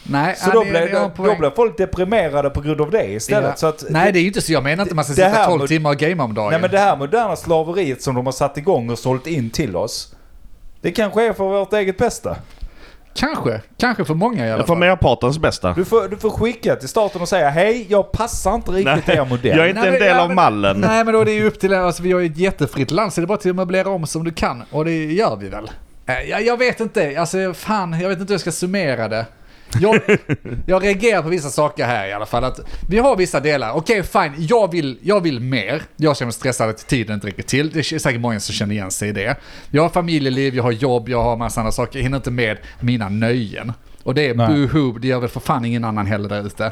Nej, Så Mm. ja, då ni- blir ni har då, en poäng. då blir folk deprimerade på grund av det istället. Ja. Så att, Nej, det är ju inte så. Jag menar inte att man ska Det sitta här 12 mot- timmar och gamea om dagen. Nej men det här moderna slaveriet som de har satt igång och sålt in till oss. Det kanske är för vårt eget bästa. Kanske. Kanske för många i alla Jag får fall. merpartens bästa. Du får, du får skicka till staten och säga hej, jag passar inte riktigt er modell. jag är inte Nej, en men- del ja, av men- mallen. Nej, men då är det ju upp till... Alltså, vi har ju ett jättefritt land, så det är bara till att möblera om som du kan. Och det gör vi väl? Eh, Jag, jag vet inte. Alltså, fan, jag vet inte hur jag ska summera det. Jag, jag reagerar på vissa saker här i alla fall. Att vi har vissa delar. Okej, fine. Jag vill, jag vill mer. Jag känner mig stressad att tiden inte räcker till. Det är säkert många som känner igen sig i det. Jag har familjeliv, jag har jobb, jag har massa andra saker. Jag hinner inte med mina nöjen. Och det är Nej. buhu, det gör väl för fan ingen annan heller där ute.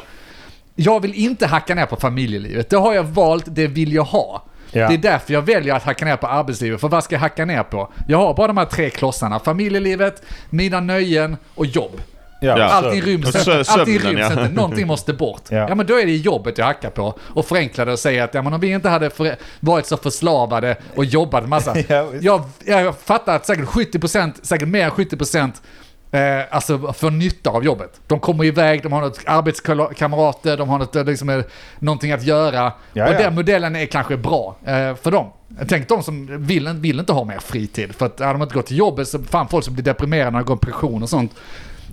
Jag vill inte hacka ner på familjelivet. Det har jag valt, det vill jag ha. Ja. Det är därför jag väljer att hacka ner på arbetslivet. För vad ska jag hacka ner på? Jag har bara de här tre klossarna. Familjelivet, mina nöjen och jobb. Ja, Ja. så- Allting ryms, Och sö- inte. allting sömnen, ryms ja. inte, någonting måste bort. Ja. Ja. men då är det jobbet jag hackar på. Och förenklar det och säger att ja, men om vi inte hade för, varit så förslavade och jobbat massa. Ja, visst. jag, jag fattar att säkert 70%, säkert mer än 70% Eh, alltså får nytta av jobbet. De kommer iväg, de har något arbetskamrater, de har något, eh, liksom, eh, någonting att göra. Ja, och ja. den modellen är kanske bra eh, för dem. Tänk de som vill, vill inte ha mer fritid. För att hade de inte gått till jobbet så fan folk som blir deprimerade när de går i pension och sånt.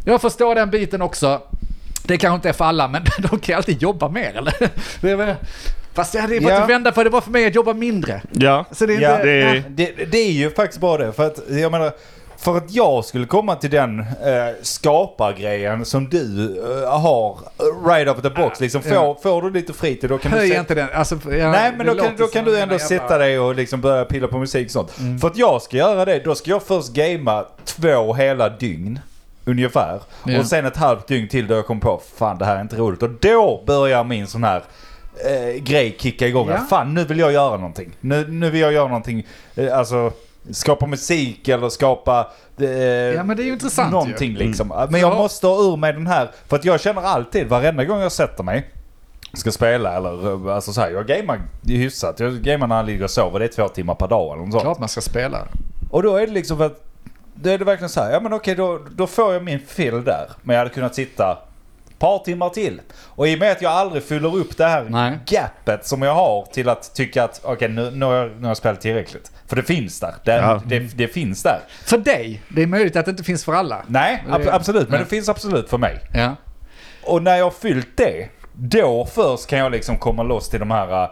Jag förstår den biten också. Det kanske inte är för alla, men de kan alltid jobba mer eller? Det är väl, fast det hade ju varit Ja. att vända för det var för mig att jobba mindre. Ja. Så det är Ja, inte... det är- Nej. Det, det är ju faktiskt bara det. För att jag menar, för att jag skulle komma till den eh, skapargrejen som du eh, har right off the box liksom. Får, Ja. får du lite fritid då kan du... Höj se- inte den. Alltså, jag, Nej men då det kan, låter då som kan du en ändå jävla- Mm. sätta dig och liksom börja pilla på musik och sånt. För att jag ska göra det, då ska jag först gamea två hela dygn. Ungefär. Ja. Och sen ett halvt dygn till då jag kom på, fan det här är inte roligt. Och då börjar min sån här eh, grej kicka igång. Ja. Fan nu vill jag göra någonting. Nu, nu vill jag göra någonting, eh, alltså skapa musik eller skapa... Eh, Ja men det är ju intressant ju. Mm. någonting liksom. Men jag Ja. måste ha ur mig den här, för att jag känner alltid varenda gång jag sätter mig ska spela eller eh, alltså så här, jag gamar hyfsat. Jag gamar när han ligger och sover, det är två timmar per dag eller något sånt. Klart man ska spela. Och då är det liksom för att, då är det verkligen så här, ja men okej då, då får jag min fill där. Men jag hade kunnat sitta ett par timmar till. Och i och med att jag aldrig fyller upp det här Nej. gapet som jag har till att tycka att okej nu, nu, har jag, nu har jag spelat tillräckligt. För det finns där, det, Ja. det, det finns där. För dig, det är möjligt att det inte finns för alla. Nej, ab- Det- absolut, men nej. det finns absolut för mig. Ja. Och när jag har fyllt det, då först kan jag liksom komma loss till de här äh,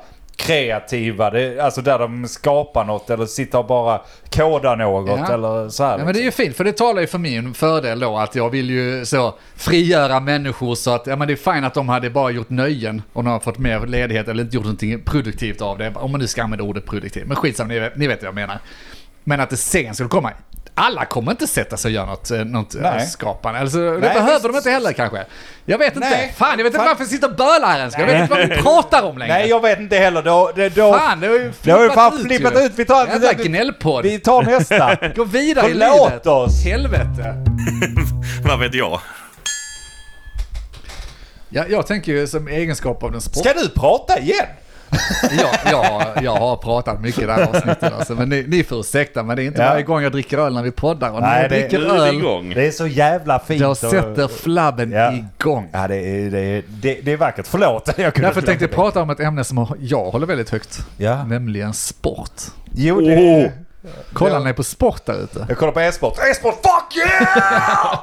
kreativa, det, alltså där de skapar något eller sitter och bara kodar något Ja. eller så här. liksom. Ja, men det är ju fint, för det talar ju för min fördel då att jag vill ju så frigöra människor så att ja, men det är fint att de hade bara gjort nöjen om de har fått mer ledighet eller inte gjort någonting produktivt av det. Om man nu ska använda ordet produktivt. Men skitsamma, ni, vet- ni vet vad jag menar. Men att det sen skulle komma. Alla kommer inte sätta sig och göra något, eh, något eh, Nej. skapande. Alltså, det Nej, behöver visst. de inte heller kanske. Jag vet inte. Nej. Fan, jag vet inte Fan. varför jag sitter och bölar här ens. Jag vet inte vad vi pratar om längre. Nej, jag vet inte heller. Då, det, då, Fan, det har ju flippat det har ju fan ut flippat ju. ut. Vi tar, Jävla vi- gnällpodd. vi tar nästa. Gå vidare i Förlåt livet. oss. Helvete. Vad vet jag? Ja, jag tänker ju som egenskap av den sport... Ska du prata igen? Ja, ja, jag har pratat mycket i det här avsnittet alltså, men ni, ni får ursäkta men det är inte Ja. varje gång jag dricker öl när vi poddar. Och när Nej, jag det- dricker Nu är vi öl, igång. Det är så jävla fint. då och- sätter flabben Ja. igång. Ja, det är, det, är, det, det är vackert. Förlåt. Jag kunde Därför inte- tänkte jag prata om ett ämne som jag håller väldigt högt, Ja. nämligen sport. Jo, det Åh! Kollar Ja. ni på sport där ute? Jag kollar på e-sport. E-sport, fuck yeah!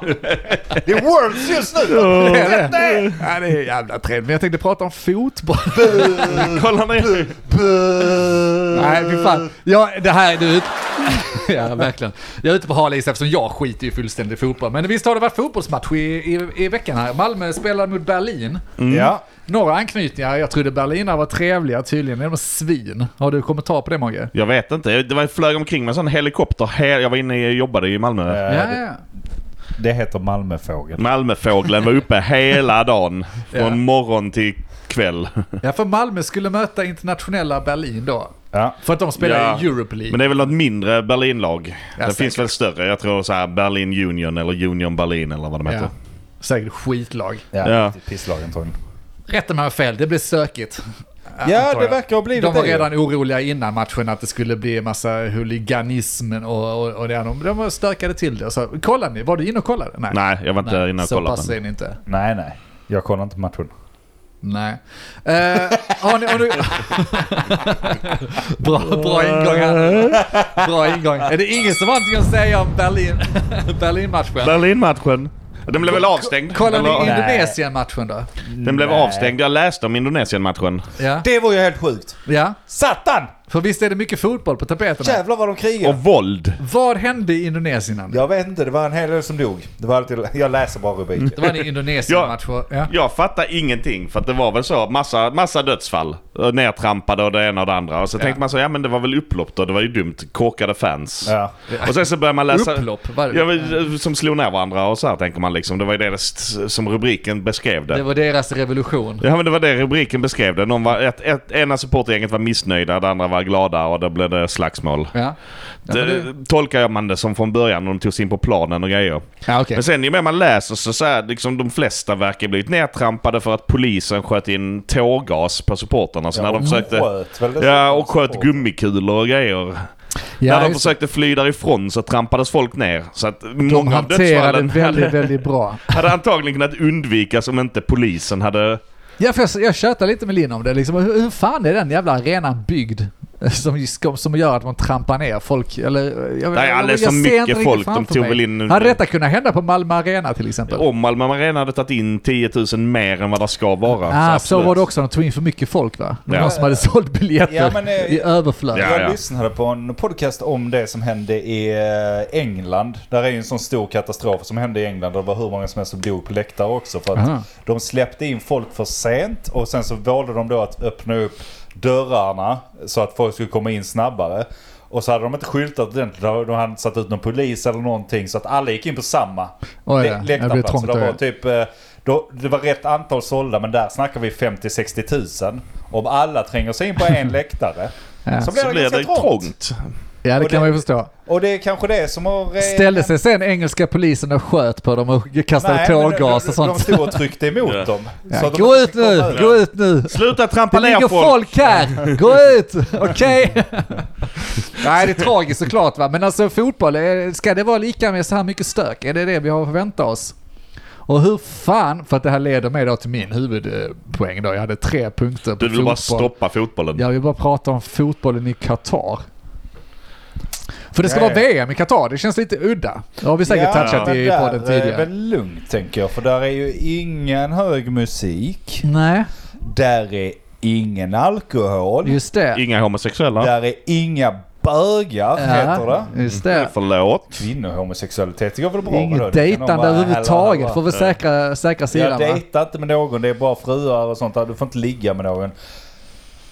det är Worlds just nu! Det är det. Ja, det är jävla trevligt. Men jag tänkte prata om fotboll. Kolla ner. Nej, fy fan. Ja, det här är du ut... Ja, verkligen. Jag är ute på hal is eftersom jag skiter ju fullständigt i fotboll. Men visst har det varit fotbollsmatch i, i, i veckan här. Malmö spelade mot Berlin. Ja. Några anknytningar. Jag trodde berlinare var trevliga. Tydligen är de svin. Har du kommentar på det, Mogge? Jag vet inte. Det var, flög omkring med en sån helikopter. He- Jag var inne och jobbade i Malmö. Eh, Ja, det- ja. Det heter Malmöfågeln. Malmöfågeln var uppe hela dagen. Från Ja. morgon till kväll. ja, för Malmö skulle möta internationella Berlin då. Ja. För att de spelar i Ja. Europe League. Men det är väl något mindre Berlinlag? Ja, det säkert. finns väl större? Jag tror så här Berlin Union eller Union Berlin eller vad de heter. ja. Säkert skitlag. Ja, Ja. riktigt pisslag antagligen. Rätt om jag har fel, det blir stökigt. Ja, antar det jag. verkar ha blivit De var det ju. redan oroliga innan matchen att det skulle bli en massa huliganism och, och, och det. De, de stökade till det. Så, kollade ni? Var du inne och kollade? Nej, jag var inte Nej, inne och så kollade. pass är ni inte. Nej, nej. Jag kollar inte matchen. Nej. Eh, har ni, har ni... bra, bra ingång här. Bra ingång. Är det ingen som har någonting att säga om Berlin, Berlinmatchen? Berlinmatchen. Den blev väl avstängd? Kollade Eller- ni Nej. Indonesien-matchen då? Den blev Nej. avstängd. Jag läste om Indonesien-matchen. Ja. Det var ju helt sjukt. ja. Satan! För visst är det mycket fotboll på tapeterna? Jävlar vad de krigar. Och våld. Vad hände i Indonesien? Anders? Jag vet inte, det var en hel del som dog. Det var alltid, jag läser bara rubriker. Det var en Indonesien-match. va? Ja. Jag fattar ingenting för att det var väl så massa, massa dödsfall. Eh, Nertrampade och det ena och det andra. Och så tänkte man så ja men det var väl upplopp då. Det var ju dumt. Korkade fans. Ja. Och sen så börjar man läsa... Upplopp, vad är det? Ja, men, eh, som slog ner varandra och så här tänker man liksom. Det var ju det som rubriken beskrev det. Det var deras revolution. Ja men det var det rubriken beskrev det. Någon var, ett, ett, ena supportergänget var missnöjda, det andra var glada och då blev det slagsmål. Ja. Ja, men det, det- Tolkar jag man det som från början när de tog sig in på planen och grejer. ja okej. Men sen ju mer man läser så, så här, liksom de flesta verkar blivit nedtrampade för att polisen sköt in tårgas på supporterna. Så när de försökte... sköt väl Ja, och sköt gummikulor och grejer. Ja, när de just det. försökte fly därifrån så trampades folk ner. Så att de många av hanterade dödsfallen det väldigt, hade, väldigt bra. hade antagligen kunnat undvikas om inte polisen hade Ja, för jag, jag tjötar lite med Linn om det. Liksom, hur, hur fan är den jävla arenan byggd? Som, som, som gör att man trampar ner folk. Eller, eh, jag, Nej, jag- alldeles för jag ser mycket inte riktigt folk. De framför tog mig. väl in- Oh, Hade detta kunnat hända på Malmö Arena till exempel? Om Malmö Arena hade tagit in 10 000 mer än vad det ska vara. ah, så absolut. var det också. De tog in för mycket folk va? Det var Ja. Någon som hade sålt biljetter Ja, men, eh, i överflöd. Ja, jag ja. lyssnade på en podcast om det som hände i eh, England. Där är ju en sån stor katastrof som hände i England. Det var hur många som helst som dog på läktare också. För att Aha. de släppte in folk för sent och sen så valde de då att öppna upp dörrarna så att folk skulle komma in snabbare. Och så hade de inte skyltat ordentligt. De hade inte satt ut någon polis eller någonting så att alla gick in på samma Oj, lä- ja. Det blir läktarplats. Så trångt det då, var ja. typ... eh, Då, det var rätt antal sålda men där snackar vi 50-60 000. Om alla tränger sig in på en läktare Ja. så blir Så det blir ganska det trångt. trångt. Ja, det Och kan det- man ju förstå. Och det är kanske det som har... eh, Ställde sig sen engelska polisen och sköt på dem och kastade Nej, men tårgas och De, de sånt. stod och tryckte emot Ja. dem. Ja, Så att de gå inte ut fick komma nu, gå ut nu! Sluta trampa Det ner ligger folk. folk här! Gå ut! Okej? Nej, det är tragiskt såklart va. Men alltså fotboll, eh, ska det vara lika med så här mycket stök? Är det det vi har att vänta oss? Och hur fan, för att det här leder mig då till min huvudpoäng då. Jag hade tre punkter på Du vill fotboll. bara stoppa fotbollen. Jag vill bara prata om fotbollen i Qatar. För det ska Nej. vara VM i Qatar, det känns lite udda. Det har vi säkert Ja, touchat men i podden Där är tidigare. väl lugnt tänker jag. För där är ju ingen hög musik. Nej, Där är ingen alkohol. just det. Inga homosexuella. Där är inga bögar heter det. just det. Mm. Förlåt. Kvinnohomosexualitet det går väl bra? vadå? Det Inget kan de dejtande bara, hallå, överhuvudtaget, hallå. får vi säkra, säkra Jag sidan va? dejtar inte med någon, det är bara fruar och sånt där. Du får inte ligga med någon.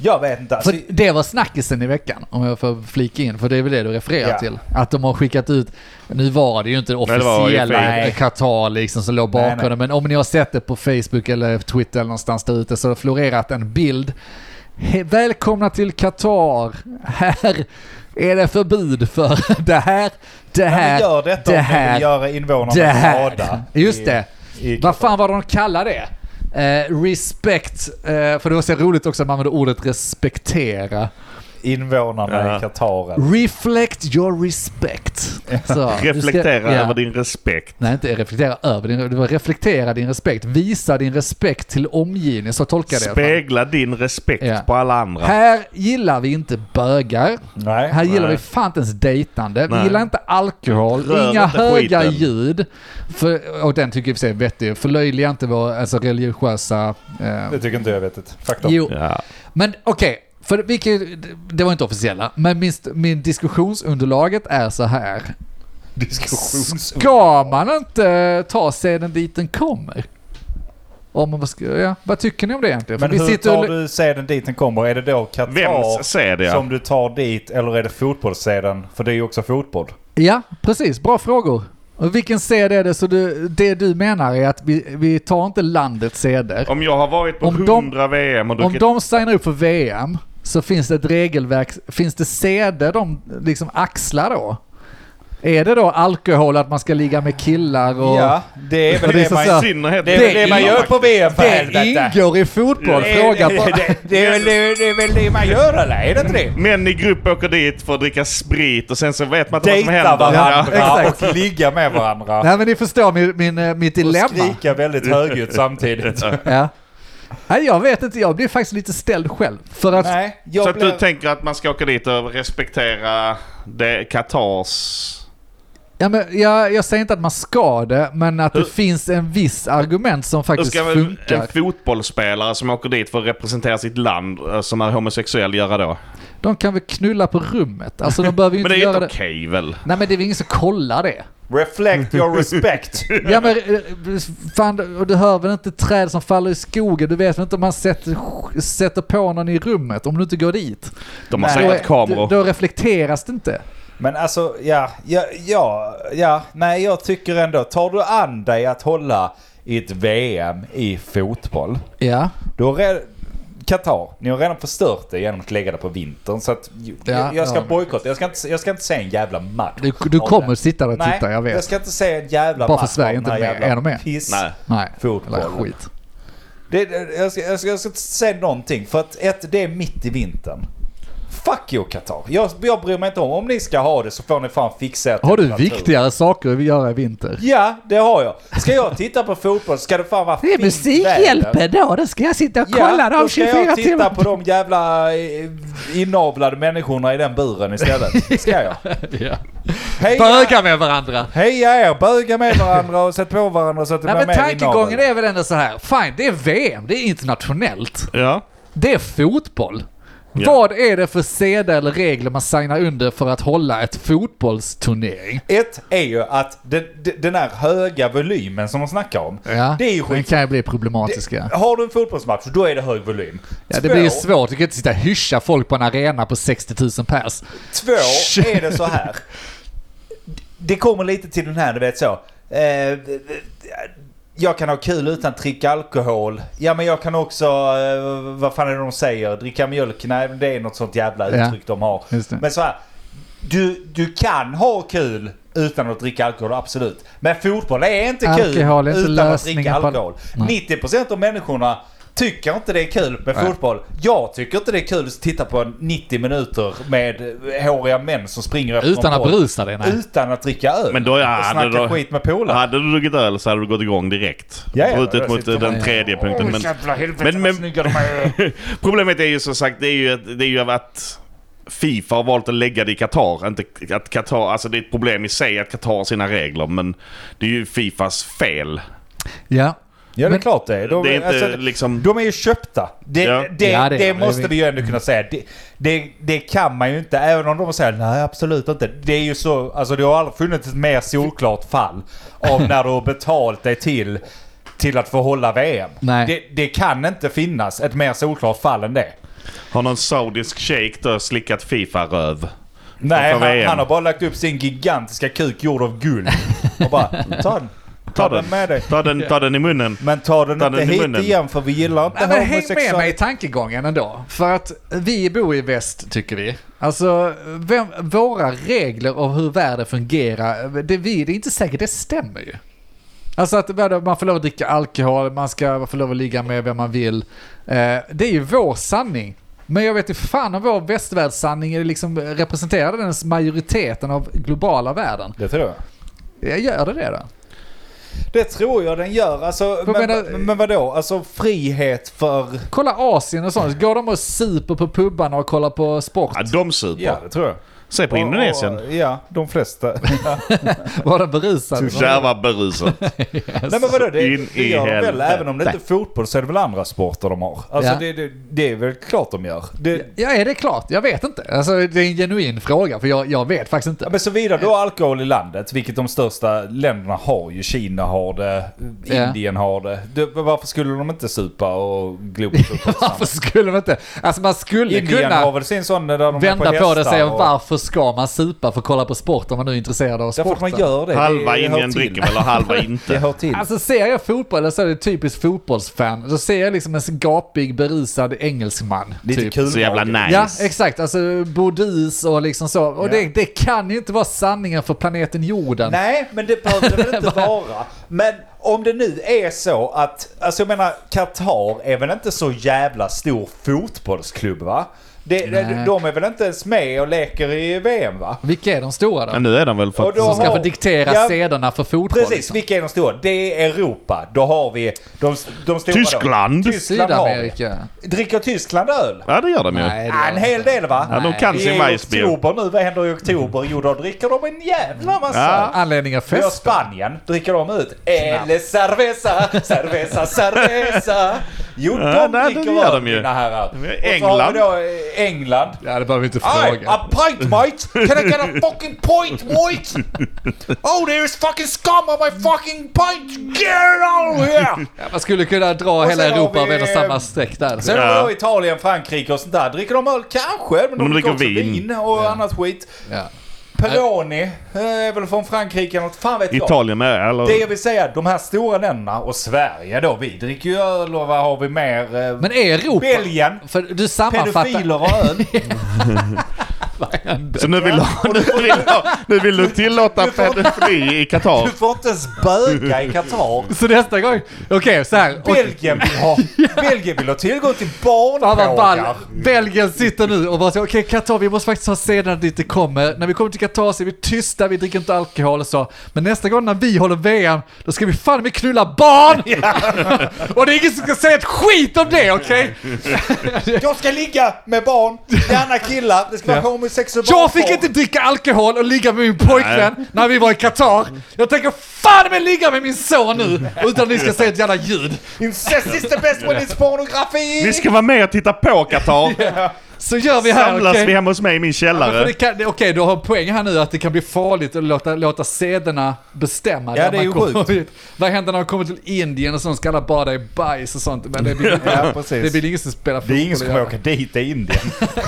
Jag vet inte. alltså- För det var snackisen i veckan, om jag får flika in, för det är väl det du refererar Ja. till. Att de har skickat ut, nu var det ju inte det var officiella ju Qatar liksom som låg bakom Nej, nej. det, men om ni har sett det på Facebook eller Twitter eller någonstans där ute så har det florerat en bild. He- välkomna till Qatar! Här är det förbud för det här, Nej, Alltså, det men här, gör detta det om ni här, vill göra invånarna det glada. här. Just i- det. i Vad fan var det de kallade det? Eh, respekt, eh, för det var så roligt också att man använde ordet respektera. Invånarna Ja. i Qatar. eller- Reflect your respect. Så, Reflektera du ska- ja. över din respekt. Nej, inte reflektera över din... Det var reflektera din respekt. Visa din respekt till omgivningen. Så tolkar jag det. i alla fall. Spegla din respekt Ja. på alla andra. Här gillar vi inte bögar. Nej. Här gillar Nej. vi fan inte ens dejtande. Vi Nej. gillar inte alkohol, Rör inga inte höga skiten. ljud. För, och den tycker jag i och för sig är vettig. Förlöjliga inte vår alltså, religiösa... Eh, Det tycker inte jag vet det. Faktum. jo, Ja. men okej. för vi kan ju- det var inte officiella, men min, min diskussionsunderlaget är så här. Diskussions... Ska man inte ta sedan dit den kommer? Om man ska, ja, vad tycker ni om det egentligen? Men vi hur sitter och- tar du seden dit den kommer? Är det då Qatar Vems sed ja. som du tar dit eller är det fotbollsseden? För det är ju också fotboll. Ja, precis. Bra frågor. Och vilken sed är det? Så du, det du menar är att vi, vi tar inte landets seder. Om jag har varit på Om de- 100 VM och Om druckit... de signar upp för VM så finns det ett regelverk. Finns det seder de liksom axlar då? Är det då alkohol, att man ska ligga med killar och... Ja, det är väl det, så man... så här- I synnerhet... Det är väl det, man gör på VM för Det helvete. ingår i fotboll, Det är- fråga det- bara. det- Det är väl det- det är väl det man gör eller? Är det inte det? Män i grupp åker dit för att dricka sprit och sen så vet man inte vad som Dejta händer. varandra Ja, och ligga med varandra. Nej men ni förstår min, min, eh, mitt Och dilemma. skrika väldigt högljutt samtidigt. Ja. Nej, jag vet inte, jag blir faktiskt lite ställd själv. För att Nej, jag Så att blev- du tänker att man ska åka dit och respektera det Katars... Ja, men jag, jag säger inte att man ska det, men att det Hur- finns en viss argument som Hur faktiskt ska väl funkar. en fotbollsspelare som åker dit för att representera sitt land eh, som är homosexuell göra då? De kan väl knulla på rummet? Alltså de behöver ju Men inte det är ju göra inte det. okej väl? Nej men det är väl ingen som kollar det? Reflect your respect. Ja men eh, fan, och du hör väl inte träd som faller i skogen? Du vet väl inte om man sätter, sätter på någon i rummet om du inte går dit? De har Nej. säkert då, kameror. då reflekteras det inte. Men alltså, ja, ja, ja, ja, nej jag tycker ändå, tar du an dig att hålla i ett VM i fotboll, Ja, då har re- Qatar, ni har redan förstört det genom att lägga det på vintern. Så att ju- Ja, jag, jag ska ja. bojkotta, jag, ska inte- jag ska inte se en jävla match. du, du av kommer det. sitta där och Nej, titta, jag vet. jag ska inte se en jävla Bara match för Sverige av den här inte är med. jävla Är de med? Piss. Nej. Nej, Fotboll. eller skit. Det, det- jag, ska, jag, ska, jag ska inte säga någonting. För att ett, det är mitt i vintern. Fuck you Qatar. Jag, jag bryr mig inte om. Om ni ska ha det så får ni fan fixa er Har du temperatur. viktigare saker att göra i vinter? Ja, det har jag. Ska jag titta på fotboll ska det fan vara Det är fint väder. Musikhjälpen då, då ska jag sitta och kolla Ja, dem då ska 24 jag titta timmar. på de jävla eh, inavlade människorna i den buren istället. Ska jag. Ja. Heja, Böga med varandra. heja er, böga med varandra och sätt på varandra så att det Nej blir mer men tankegången inavel. är väl ändå så här. fine det är VM, det är internationellt. Ja. Det är fotboll. Ja. Vad är det för seder eller regler man signar under för att hålla ett fotbollsturnering? Ett är ju att den, den- den här höga volymen som man snackar om. Ja, Det är ju den skit. kan ju bli problematiska. Har du en fotbollsmatch, då är det hög volym. Ja, det blir ju Två- svårt. Du kan inte sitta och hyscha folk på en arena på 60 000 pers. Två är det så här. Det kommer lite till den här, du vet så. Eh, jag kan ha kul utan att dricka alkohol. Ja men jag kan också, eh, vad fan är det de säger? Dricka mjölk? Nej men det är något sånt jävla Ja, uttryck de har. just det. Men så här. Du, du kan ha kul utan att dricka alkohol, absolut. Men fotboll är inte kul Alkohol är inte utan att dricka lösningen på- alkohol. Nej. 90% av människorna tycker inte det är kul med Nej. fotboll. Jag tycker inte det är kul att titta på 90 minuter med eh, håriga män som springer efter Utan en att boll. berusa dig, nej. Utan att dricka öl. Men då- ja, och snacka då- skit med polare. Hade du druckit öl så hade du gått igång direkt. Ja, ja, Brutit jag mot sitter eh, den med- tredje punkten. Men, jävla helvete men- men- snygga de är. Problemet är ju som sagt, det är ju, att- det är ju att Fifa har valt att lägga det i Qatar. Inte att Qatar, alltså det är ett problem i sig att Qatar har sina regler, men det är ju Fifas fel. Ja. Ja det är Men- klart det är. De, Det är inte alltså, liksom- de är ju köpta. Det, Ja. det, Ja, det det, är de. måste Det- vi ju ändå kunna säga. Det, det, det kan man ju inte, även om de säger nej absolut inte. Det är ju så, alltså det har aldrig funnits ett mer solklart fall av när du har betalt dig till, till att få hålla VM. Nej. Det, det kan inte finnas ett mer solklart fall än det. Har någon saudisk shejk då slickat Fifa-röv? Nej, För han, VM. han har bara lagt upp sin gigantiska kuk gjord av guld. Och bara, ta den. Ta den med dig. Ta den, ta den i munnen. Men ta den Ta inte den i hit munnen. igen för vi gillar inte Nej, men häng med mig i homosexuella. tankegången ändå. För att vi bor i väst, tycker vi. Alltså, vem, våra regler om hur världen fungerar, det, vi, det är inte säkert det stämmer ju. Alltså att vadå, man får lov att dricka alkohol, man ska man får lov att ligga med vem man vill. Eh, det är ju vår sanning. Men jag vet inte fan om vår västvärldssanning är liksom representerar den ens majoriteten av globala världen. Det tror jag. Jag gör det det då? Det tror jag den gör. Alltså, men, Vad menar- men vadå? Alltså frihet för... Kolla Asien och sånt, går de och super på pubarna och kollar på sport? Ja, de super. det tror jag. Se på Indonesien. ja, de flesta. Var de berusade? Där var berusat. Nej men vadå, det, In det i gör de väl. helvete. Även om det inte är fotboll så är det väl andra sporter de har. Alltså Ja. det, det, det är väl klart de gör. Det, Ja, är det klart? Jag vet inte. Alltså, det är en genuin fråga, för jag, jag vet faktiskt Ja, inte. men så vidare, du har alkohol i landet, vilket de största länderna har ju. Kina har det, Ja. Indien har det. Du, varför skulle de inte supa och glo på fotboll Varför tillsammans? skulle man inte? Alltså man skulle Indien har kunna väl sin sån där de vända är på det och säga hästar varför ska man supa för att kolla på sport om man nu är intresserad av Därför sporten? att man gör det. Halva det, det hör Indien till. dricker väl och halva Det inte. hör till. Alltså ser jag fotboll, eller så är det typiskt fotbollsfan. Då ser jag liksom en gapig, berusad engelsman. Lite typ. kul. Så jävla nice. Ja, exakt. Alltså bodis och liksom så. Och Ja. det, det kan ju inte vara sanningen för planeten jorden. Nej, men det behöver det väl inte vara. Men om det nu är så att, alltså jag menar, Qatar är väl inte så jävla stor fotbollsklubb va? Det, det, Nej. de är väl inte ens med och leker i VM va? Vilka är de stora då? Men nu är den väl för Och då att... Som ska har- få diktera Ja, sederna för fotboll. Precis, liksom. vilka är de stora? Det är Europa. Då har vi de, de stora. Tyskland. Då. Tyskland har vi. Sydamerika. Dricker Tyskland öl? Ja, det gör de ju. Nej, det Ja, gör en de hel inte. del va? Ja, de kan Vi sin är i majsbier. oktober nu. Vad händer i oktober? Jo, då dricker de en jävla massa. Ja. Anledningen Vi har fest. Spanien, dricker de ut? Eller cerveza, cerveza, cerveza. Jo, de Ja, nej, det dricker gör öl, de ju. mina herrar. Vi har Och så har England. vi då eh, England. Ja, det behöver vi inte Aye, a pint, mate! Can I get a fucking point, mate? Oh, there's fucking scum on my fucking pint! Get out of here! Man skulle kunna dra sen hela har Europa vi, över eh, samma streck där. Sen har Ja. vi då Italien, Frankrike och sånt där. Dricker de öl? Kanske, men de, dricker också vin, och annat skit. Ja. Peroni eh, är väl från Frankrike eller något. Fan vet jag. Italien med, eller? Det jag vill säga, de här stora länderna och Sverige då, vi dricker ju öl och vad har vi mer? Eh, Men är Europa... Belgien, För du sammanfattar... pedofiler och öl. beteende. Så nu vill, du, nu vill, du- nu vill du tillåta pedofili i Qatar. Du får inte ens böga i Qatar. Så nästa gång, okej så här. Och, Belgien vill ha, Belgien vill ha tillgång till Fan vad ball. barnpågar. Belgien sitter nu och bara så, okej Qatar vi måste faktiskt ha scenen dit det kommer. När vi kommer till Qatar så är vi tysta, vi dricker inte alkohol och så. Men nästa gång när vi håller VM, då ska vi fan med knulla barn! och det är ingen som ska säga ett skit om det, okej? Jag ska ligga med barn, gärna killar. Det ska vara homosexuella Jag fick inte dricka alkohol och ligga med min pojkvän när vi var i Qatar. Jag tänker fan med ligga med min son nu utan att ni ska säga ett jävla ljud. Incest is the best when it's pornografi! Ni ska vara med och titta på Qatar. Så gör vi här, Samlas okej? vi hemma hos mig i min Ja, men för det källare. kan- det- Okej, du har en poäng här nu att det kan bli farligt att låta, låta sederna bestämma. Ja, när det är man ju kommer sjukt. hit. Vad händer när de kommer till Indien och sånt? Ska alla bada i bajs och sånt? Men det blir, Ja, precis. det blir ingen som spelar fotboll. Det är ingen som och kommer gör åka dit, det är Indien.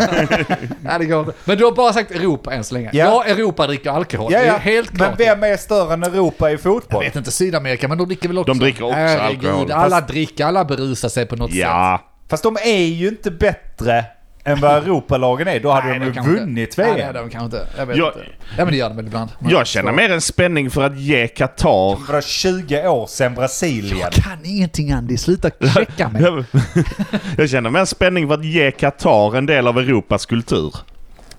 det. Nej, det går inte. Men du har bara sagt Europa än så länge. Ja. Ja, Europa dricker alkohol. Det är helt Men klart. vem är större än Europa i jag fotboll? vet inte, Sydamerika, men de dricker väl också? De dricker också Herregud, alkohol. Alla dricker, alla berusar sig på något sätt. Ja. Fast de är ju inte bättre än vad Europalagen är. Då hade Nej, de de ju kanske inte- vunnit Nej, nej, VM. de kanske inte. Jag vet Jag- inte. Ja, men det gör de väl ibland. Men Jag känner mer en spänning för att ge Qatar... Det var 20 år sedan Brasilien. Jag kan ingenting Andy, sluta checka mig. Jag känner mer spänning för att ge Qatar en del av Europas kultur.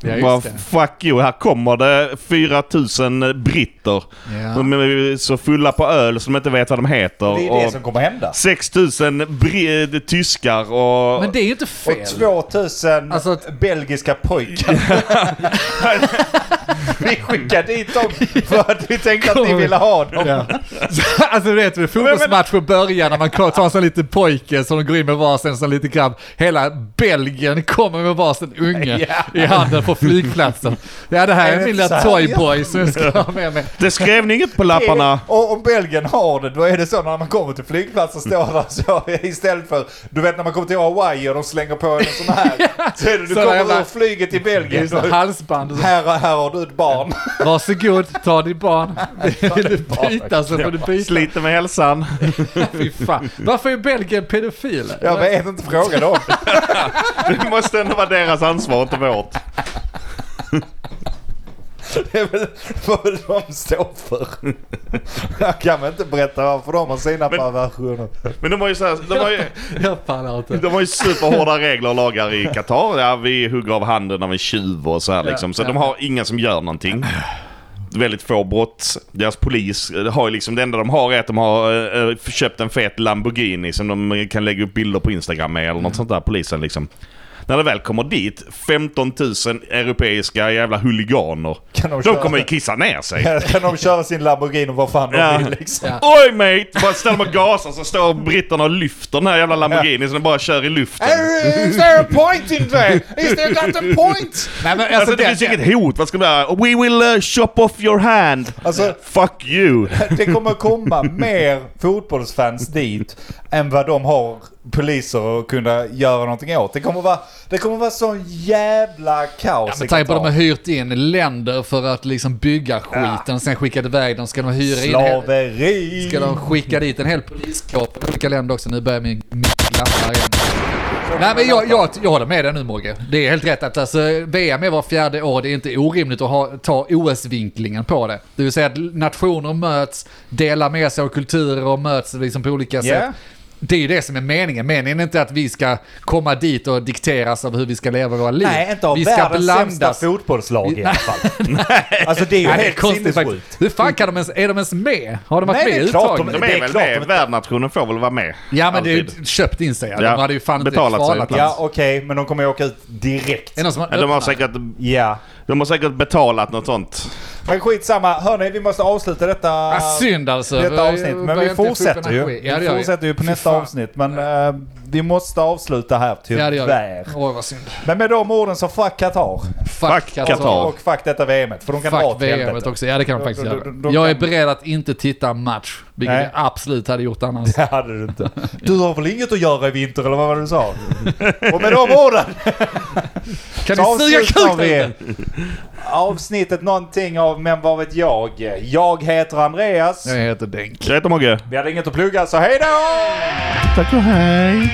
Ja, just Bara, det. fuck you, här kommer det 4000 britter. Ja. De är så fulla på öl som inte vet vad de heter. Det är det och som kommer hända. 6000 bri- eh, tyskar och... Men det är ju inte Och fel. 2000 Alltså att- belgiska pojkar. vi skickade dit dem för att vi tänkte att ni ville ha dem. Ja. alltså du vet, fotbollsmatcher börjar när man tar en sån liten pojke som de går in med varsin sån liten grabb. Hela Belgien kommer med varsin unge i handen på flygplatsen. Ja, det här Är det är min lilla så här? toyboy som jag ska ha med mig. Det skrev ni inget på lapparna. Eh, Och om Belgien har det, då är det så när man kommer till flygplatsen står där så istället för, du vet när man kommer till Hawaii och de slänger på en en sån här. Så är det, du Så kommer jävla- ur flyget till Belgien. Just det, Då, halsband och så. här, här har du ett barn. Varsågod, ta ditt barn. Vill du byta så får du byta. Sliter med hälsan. Fy fan. Varför är Belgien pedofil? Jag vet inte, fråga dem. Det måste ändå vara deras ansvar, inte vårt. Det är väl vad de står för. Jag kan väl inte berätta varför de har sina Men- perversioner. Men de har ju, så här, de har ju, Jag pallar inte. de har ju superhårda regler och lagar i Qatar. Ja, vi hugger av handen av en tjuv och så här liksom. Så ja. de har inga som gör någonting. Väldigt få brott. Deras polis eh, har ju liksom, det enda de har är att de har eh, eh, köpt en fet Lamborghini som de eh, kan lägga upp bilder på Instagram med eller något sånt där, polisen liksom. När det väl kommer dit, 15 000 europeiska jävla huliganer. Kan de de köra kommer ju det? kissa ner sig. Kan de köra sin Lamborghini vad fan Ja. de vill liksom. Ja. Oj mate! Bara ställer man gasen så står britterna och lyfter den här jävla Lamborghini så den bara kör i luften. Is there a point in there? Is there not a point? Nej, men Alltså det den- finns ju inget hot. Vad ska man göra? We will uh, chop off your hand. Alltså- Fuck you. Det kommer komma mer fotbollsfans dit än vad de har poliser att kunna göra någonting åt. Det kommer vara, det kommer vara sån jävla kaos Med i tanke på att de Qatar. har hyrt in länder för att liksom bygga skiten och sen skickat iväg dem. Ska de hyra in... hel- Slaveri! Ska de skicka dit en hel poliskår på olika länder också? Nu börjar min, min lappa igen. Nej men jag, jag, jag håller med dig nu Mogge. Det är helt rätt att alltså, VM är var fjärde år. Det är inte orimligt att ha, ta OS-vinklingen på det. Det vill säga att nationer möts, delar med sig av kulturer och möts liksom på olika sätt. Ja. Det är ju det som är meningen. Meningen är inte att vi ska komma dit och dikteras av hur vi ska leva våra liv. Nej, inte av vi ska världens sämsta blandas. fotbollslag i alla fall. Alltså det är ju Nej, det är helt konstigt sinnessjukt. faktiskt. Hur fan kan de ens, är de ens med? Har de varit Nej, det med är i klart de- uttagningen? De Det är är väl klart de det. inte- Värdnationen får väl vara med. Ja men det är Alltid. ju köpt in sig. Ja. Ja, De hade ju fan inte betalat sig kvalat utan- Ja, okej, men de kommer ju åka ut direkt. Är det någon som har Ja, De har, öppnat? säkert, Ja. de har säkert betalat något sånt. Men skitsamma, hörni, vi måste avsluta detta, Ah, synd alltså. detta avsnitt. Men vi fortsätter ju. Ja, det Vi gör fortsätter ju på Fy nästa fan. avsnitt. Men eh, vi måste avsluta här Ja, det gör tyvärr. vi. Åh, vad synd. Men med de orden så fuck Qatar. Fuck Qatar. Qatar. Och fuck detta VMet. För de kan dra Fuck till VM helvete. också. Ja, det kan de Då- faktiskt då- göra. då- då Jag är kan- beredd att inte titta match, vilket Nej. jag absolut hade gjort annars. Det hade du inte. Du har väl inget att göra i vinter eller vad var det du sa? Och med de orden Kan så ni suga avslutar kuk vi lite? avsnittet någonting av Men vad vet jag? Jag heter Andreas. Jag heter Denk. Jag heter Mogge. Vi hade inget att plugga så hej då! Tack och hej.